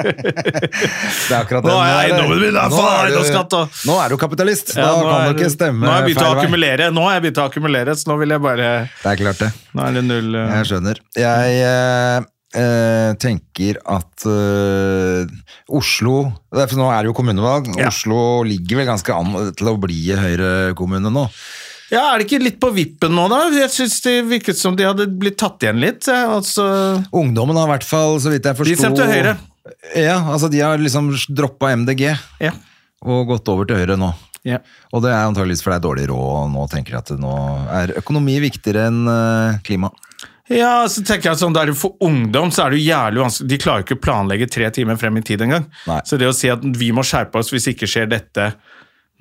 Speaker 2: Det er akkurat
Speaker 1: Nå er
Speaker 2: det.
Speaker 1: eiendommen min, da,
Speaker 2: nå
Speaker 1: faen,
Speaker 2: er
Speaker 1: nå
Speaker 2: du-
Speaker 1: skatt, da.
Speaker 2: Nå er du kapitalist,
Speaker 1: Ja,
Speaker 2: da
Speaker 1: nå
Speaker 2: kan
Speaker 1: er-
Speaker 2: du ikke stemme
Speaker 1: Nå har jeg begynt å
Speaker 2: feil vei.
Speaker 1: akkumulere, nå har jeg begynt å akkumulere, så nå vil jeg bare
Speaker 2: Det er klart det.
Speaker 1: Nå er det null eh.
Speaker 2: Jeg skjønner. Jeg eh, eh, tenker at eh, Oslo det er- For nå er det jo kommunevalg.
Speaker 1: Ja.
Speaker 2: Oslo ligger vel ganske an til å bli Høyre-kommune nå.
Speaker 1: Ja, er det ikke litt på vippen nå, da? Jeg syns det virket som de hadde blitt tatt igjen litt. eh, Altså,
Speaker 2: Ungdommen har i hvert fall, så vidt jeg forsto
Speaker 1: de stemte Høyre.
Speaker 2: Ja, altså de har liksom droppa MDG
Speaker 1: Ja.
Speaker 2: og gått over til Høyre nå.
Speaker 1: Ja.
Speaker 2: Og det er antageligvis fordi det er dårlig råd, og nå tenker jeg at nå er økonomi viktigere enn eh, klima.
Speaker 1: ja, så tenker jeg sånn, der For ungdom så er det jo jævlig vanskelig. De klarer jo ikke å planlegge tre timer frem i tid engang.
Speaker 2: Nei.
Speaker 1: Så det å si at vi må skjerpe oss hvis ikke skjer dette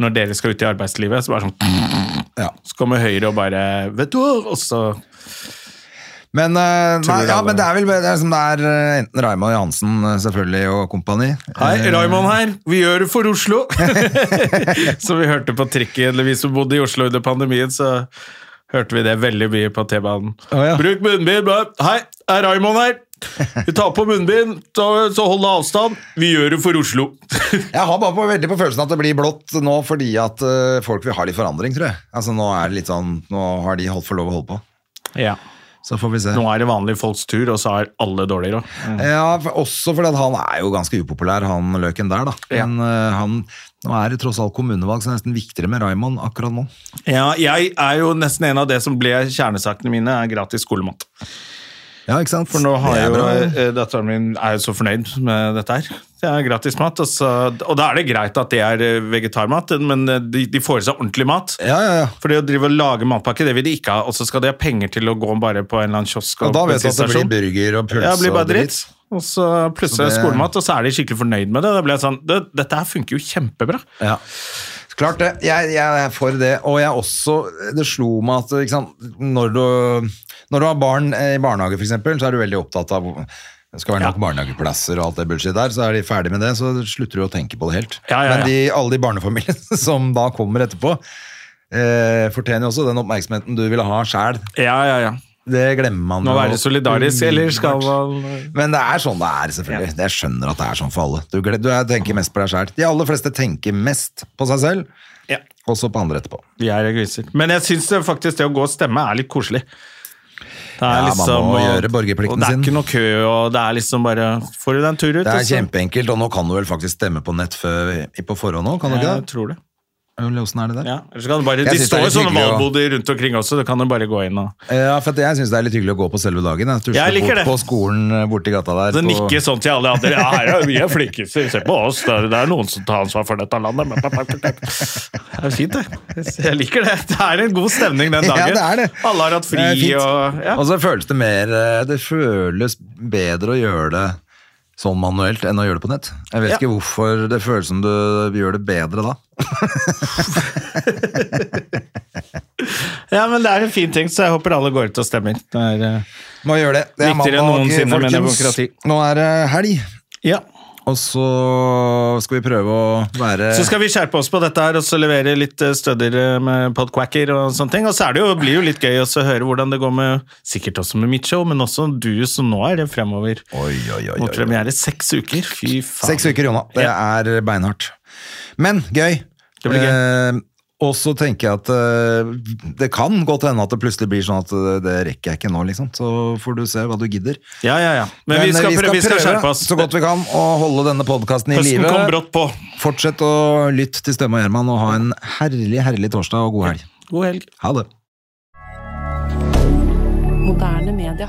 Speaker 1: når dere skal ut i arbeidslivet, så bare sånn
Speaker 2: Ja.
Speaker 1: Så kommer Høyre og bare Vet du hva? Og så
Speaker 2: Men, eh,
Speaker 1: Tror
Speaker 2: nei,
Speaker 1: du det
Speaker 2: ja,
Speaker 1: er-
Speaker 2: men det er vel det er, som det er eh, enten Raymond Johansen eh, selvfølgelig og kompani.
Speaker 1: Hei,
Speaker 2: Eh,
Speaker 1: Raymond her. Vi gjør det for Oslo! så vi hørte på trikket, eller vi som bodde i Oslo under pandemien, så hørte vi det veldig mye på T-banen.
Speaker 2: Å, ja.
Speaker 1: Bruk munnbind! bare, Hei, er Raymond her! Vi tar på munnbind, så, så hold avstand. Vi gjør det for Oslo.
Speaker 2: Jeg har bare på, veldig på følelsen at det blir blått nå fordi at eh, folk vil ha litt forandring, tror jeg. Altså Nå er det litt sånn, nå har de holdt for lov å holde på.
Speaker 1: ja.
Speaker 2: Så får vi se.
Speaker 1: Nå er det vanlige folks tur, og så er alle dårligere òg.
Speaker 2: Ja, for, også fordi at han er jo ganske upopulær, han løken der, da.
Speaker 1: Ja.
Speaker 2: Men eh, han, nå er det tross alt kommunevalg, så det er nesten viktigere med Raymond akkurat nå.
Speaker 1: Ja, jeg er jo nesten en av det som ble kjernesakene mine, er gratis skolemat.
Speaker 2: Ja, ikke sant?
Speaker 1: For nå har
Speaker 2: Det er
Speaker 1: jo
Speaker 2: bra.
Speaker 1: eh, datteren min er jo så fornøyd med dette her. Det er gratis mat, og, så, og da er det greit at det er eh, vegetarmat, men eh, de, de får i seg ordentlig mat.
Speaker 2: Ja, ja, ja.
Speaker 1: For det å drive og lage matpakke, det vil de ikke ha, og så skal de ha penger til å gå bare på en eller annen kiosk.
Speaker 2: Og da vet du at det blir
Speaker 1: bensinstasjon.
Speaker 2: burger og pølse
Speaker 1: Ja, det blir bare
Speaker 2: og
Speaker 1: dritt. Og så plutselig er
Speaker 2: Så
Speaker 1: det
Speaker 2: det-
Speaker 1: skolemat, og så er de skikkelig fornøyd med det. Da ble jeg sånn, det, Dette her funker jo kjempebra.
Speaker 2: Ja. Klart det. Jeg, jeg er for det. Og jeg også, det slo meg at ikke sant? Når, du, når du har barn eh, i barnehage, for eksempel, så er du veldig opptatt av det skal være nok barnehageplasser og alt det bullshit der. Så er de ferdig med det, så slutter du å tenke på det helt.
Speaker 1: Ja, ja, ja.
Speaker 2: Men de, alle de barnefamiliene som da kommer etterpå, eh, fortjener jo også den oppmerksomheten du ville ha sjæl.
Speaker 1: Ja, ja, ja.
Speaker 2: Det glemmer man.
Speaker 1: Må
Speaker 2: jo.
Speaker 1: være solidarisk, eller skal man
Speaker 2: Men det er sånn det er, selvfølgelig. Jeg skjønner at det er sånn for alle. Du, gle- du er- tenker mest på deg sjæl. De aller fleste tenker mest på seg selv,
Speaker 1: Ja.
Speaker 2: og så på andre etterpå.
Speaker 1: Vi er egoister. Men jeg syns faktisk det å gå og stemme er litt koselig. Det er liksom
Speaker 2: Ja, man må gjøre borgerplikten
Speaker 1: og det er
Speaker 2: sin.
Speaker 1: ikke noe kø, og det er liksom bare Får du deg en tur ut?
Speaker 2: Det
Speaker 1: og
Speaker 2: er
Speaker 1: så-
Speaker 2: kjempeenkelt, og nå kan du vel faktisk stemme på nett før, i- på forhånd nå, kan du ikke
Speaker 1: Jeg
Speaker 2: det?
Speaker 1: tror det.
Speaker 2: Eller Hvordan er det der?
Speaker 1: Ja. Eller så kan du bare,
Speaker 2: Jeg
Speaker 1: de
Speaker 2: synes det
Speaker 1: står jo
Speaker 2: er litt
Speaker 1: sånne
Speaker 2: hyggelig å-
Speaker 1: valgboder rundt omkring også, du kan jo bare gå inn og
Speaker 2: Eh, Ja, for at jeg syns det er litt hyggelig å gå på selve dagen. Jeg tusler
Speaker 1: Jeg liker
Speaker 2: bort
Speaker 1: det.
Speaker 2: på skolen eh, borti gata der.
Speaker 1: Så
Speaker 2: på-
Speaker 1: nikker sånn til alle andre. Ja, her er vi er flinkiser, se på oss. Det er, det er noen som tar ansvar for dette landet. men- Det er fint, det. Jeg liker det. Det er en god stemning den
Speaker 2: Ja,
Speaker 1: dagen.
Speaker 2: det er det.
Speaker 1: Alle har hatt fri
Speaker 2: Det er fint.
Speaker 1: og ja.
Speaker 2: Og så føles det mer eh, Det føles bedre å gjøre det sånn manuelt enn å gjøre det på nett. Jeg vet
Speaker 1: Ja.
Speaker 2: ikke hvorfor det føles som du gjør det bedre da.
Speaker 1: Ja, men det er en fin ting, så jeg håper alle går ut og stemmer. Det er, eh,
Speaker 2: Må gjøre det. Det er
Speaker 1: Viktigere enn
Speaker 2: mandag,
Speaker 1: noensinne med
Speaker 2: folkens.
Speaker 1: demokrati.
Speaker 2: Nå er det helg,
Speaker 1: ja.
Speaker 2: og så skal vi prøve å være
Speaker 1: Så skal vi skjerpe oss på dette her, og så levere litt eh, stødder eh, med podquacker og sånne ting. Og så er det jo, blir det jo litt gøy også å høre hvordan det går med sikkert også med mitt show, men også du, så nå er det fremover
Speaker 2: Oi, oi, oi,
Speaker 1: mot
Speaker 2: oi.
Speaker 1: premiere. Seks uker, fy faen.
Speaker 2: Seks uker, Jonna. Det er beinhardt. Men gøy.
Speaker 1: Det blir gøy.
Speaker 2: Eh, og så tenker jeg at eh, det kan godt hende at det plutselig blir sånn at eh, det rekker jeg ikke nå, liksom. Så får du se hva du gidder.
Speaker 1: Ja, ja, ja. Men, vi,
Speaker 2: eh,
Speaker 1: skal prøve, vi skal skjerpe oss.
Speaker 2: så godt vi kan å holde denne podkasten i
Speaker 1: Høsten kom
Speaker 2: live.
Speaker 1: brått på.
Speaker 2: Fortsett å lytte til Stømme og Gjerman, og ha en herlig, herlig torsdag og god helg.
Speaker 1: God helg.
Speaker 2: Ha det.
Speaker 3: Moderne media.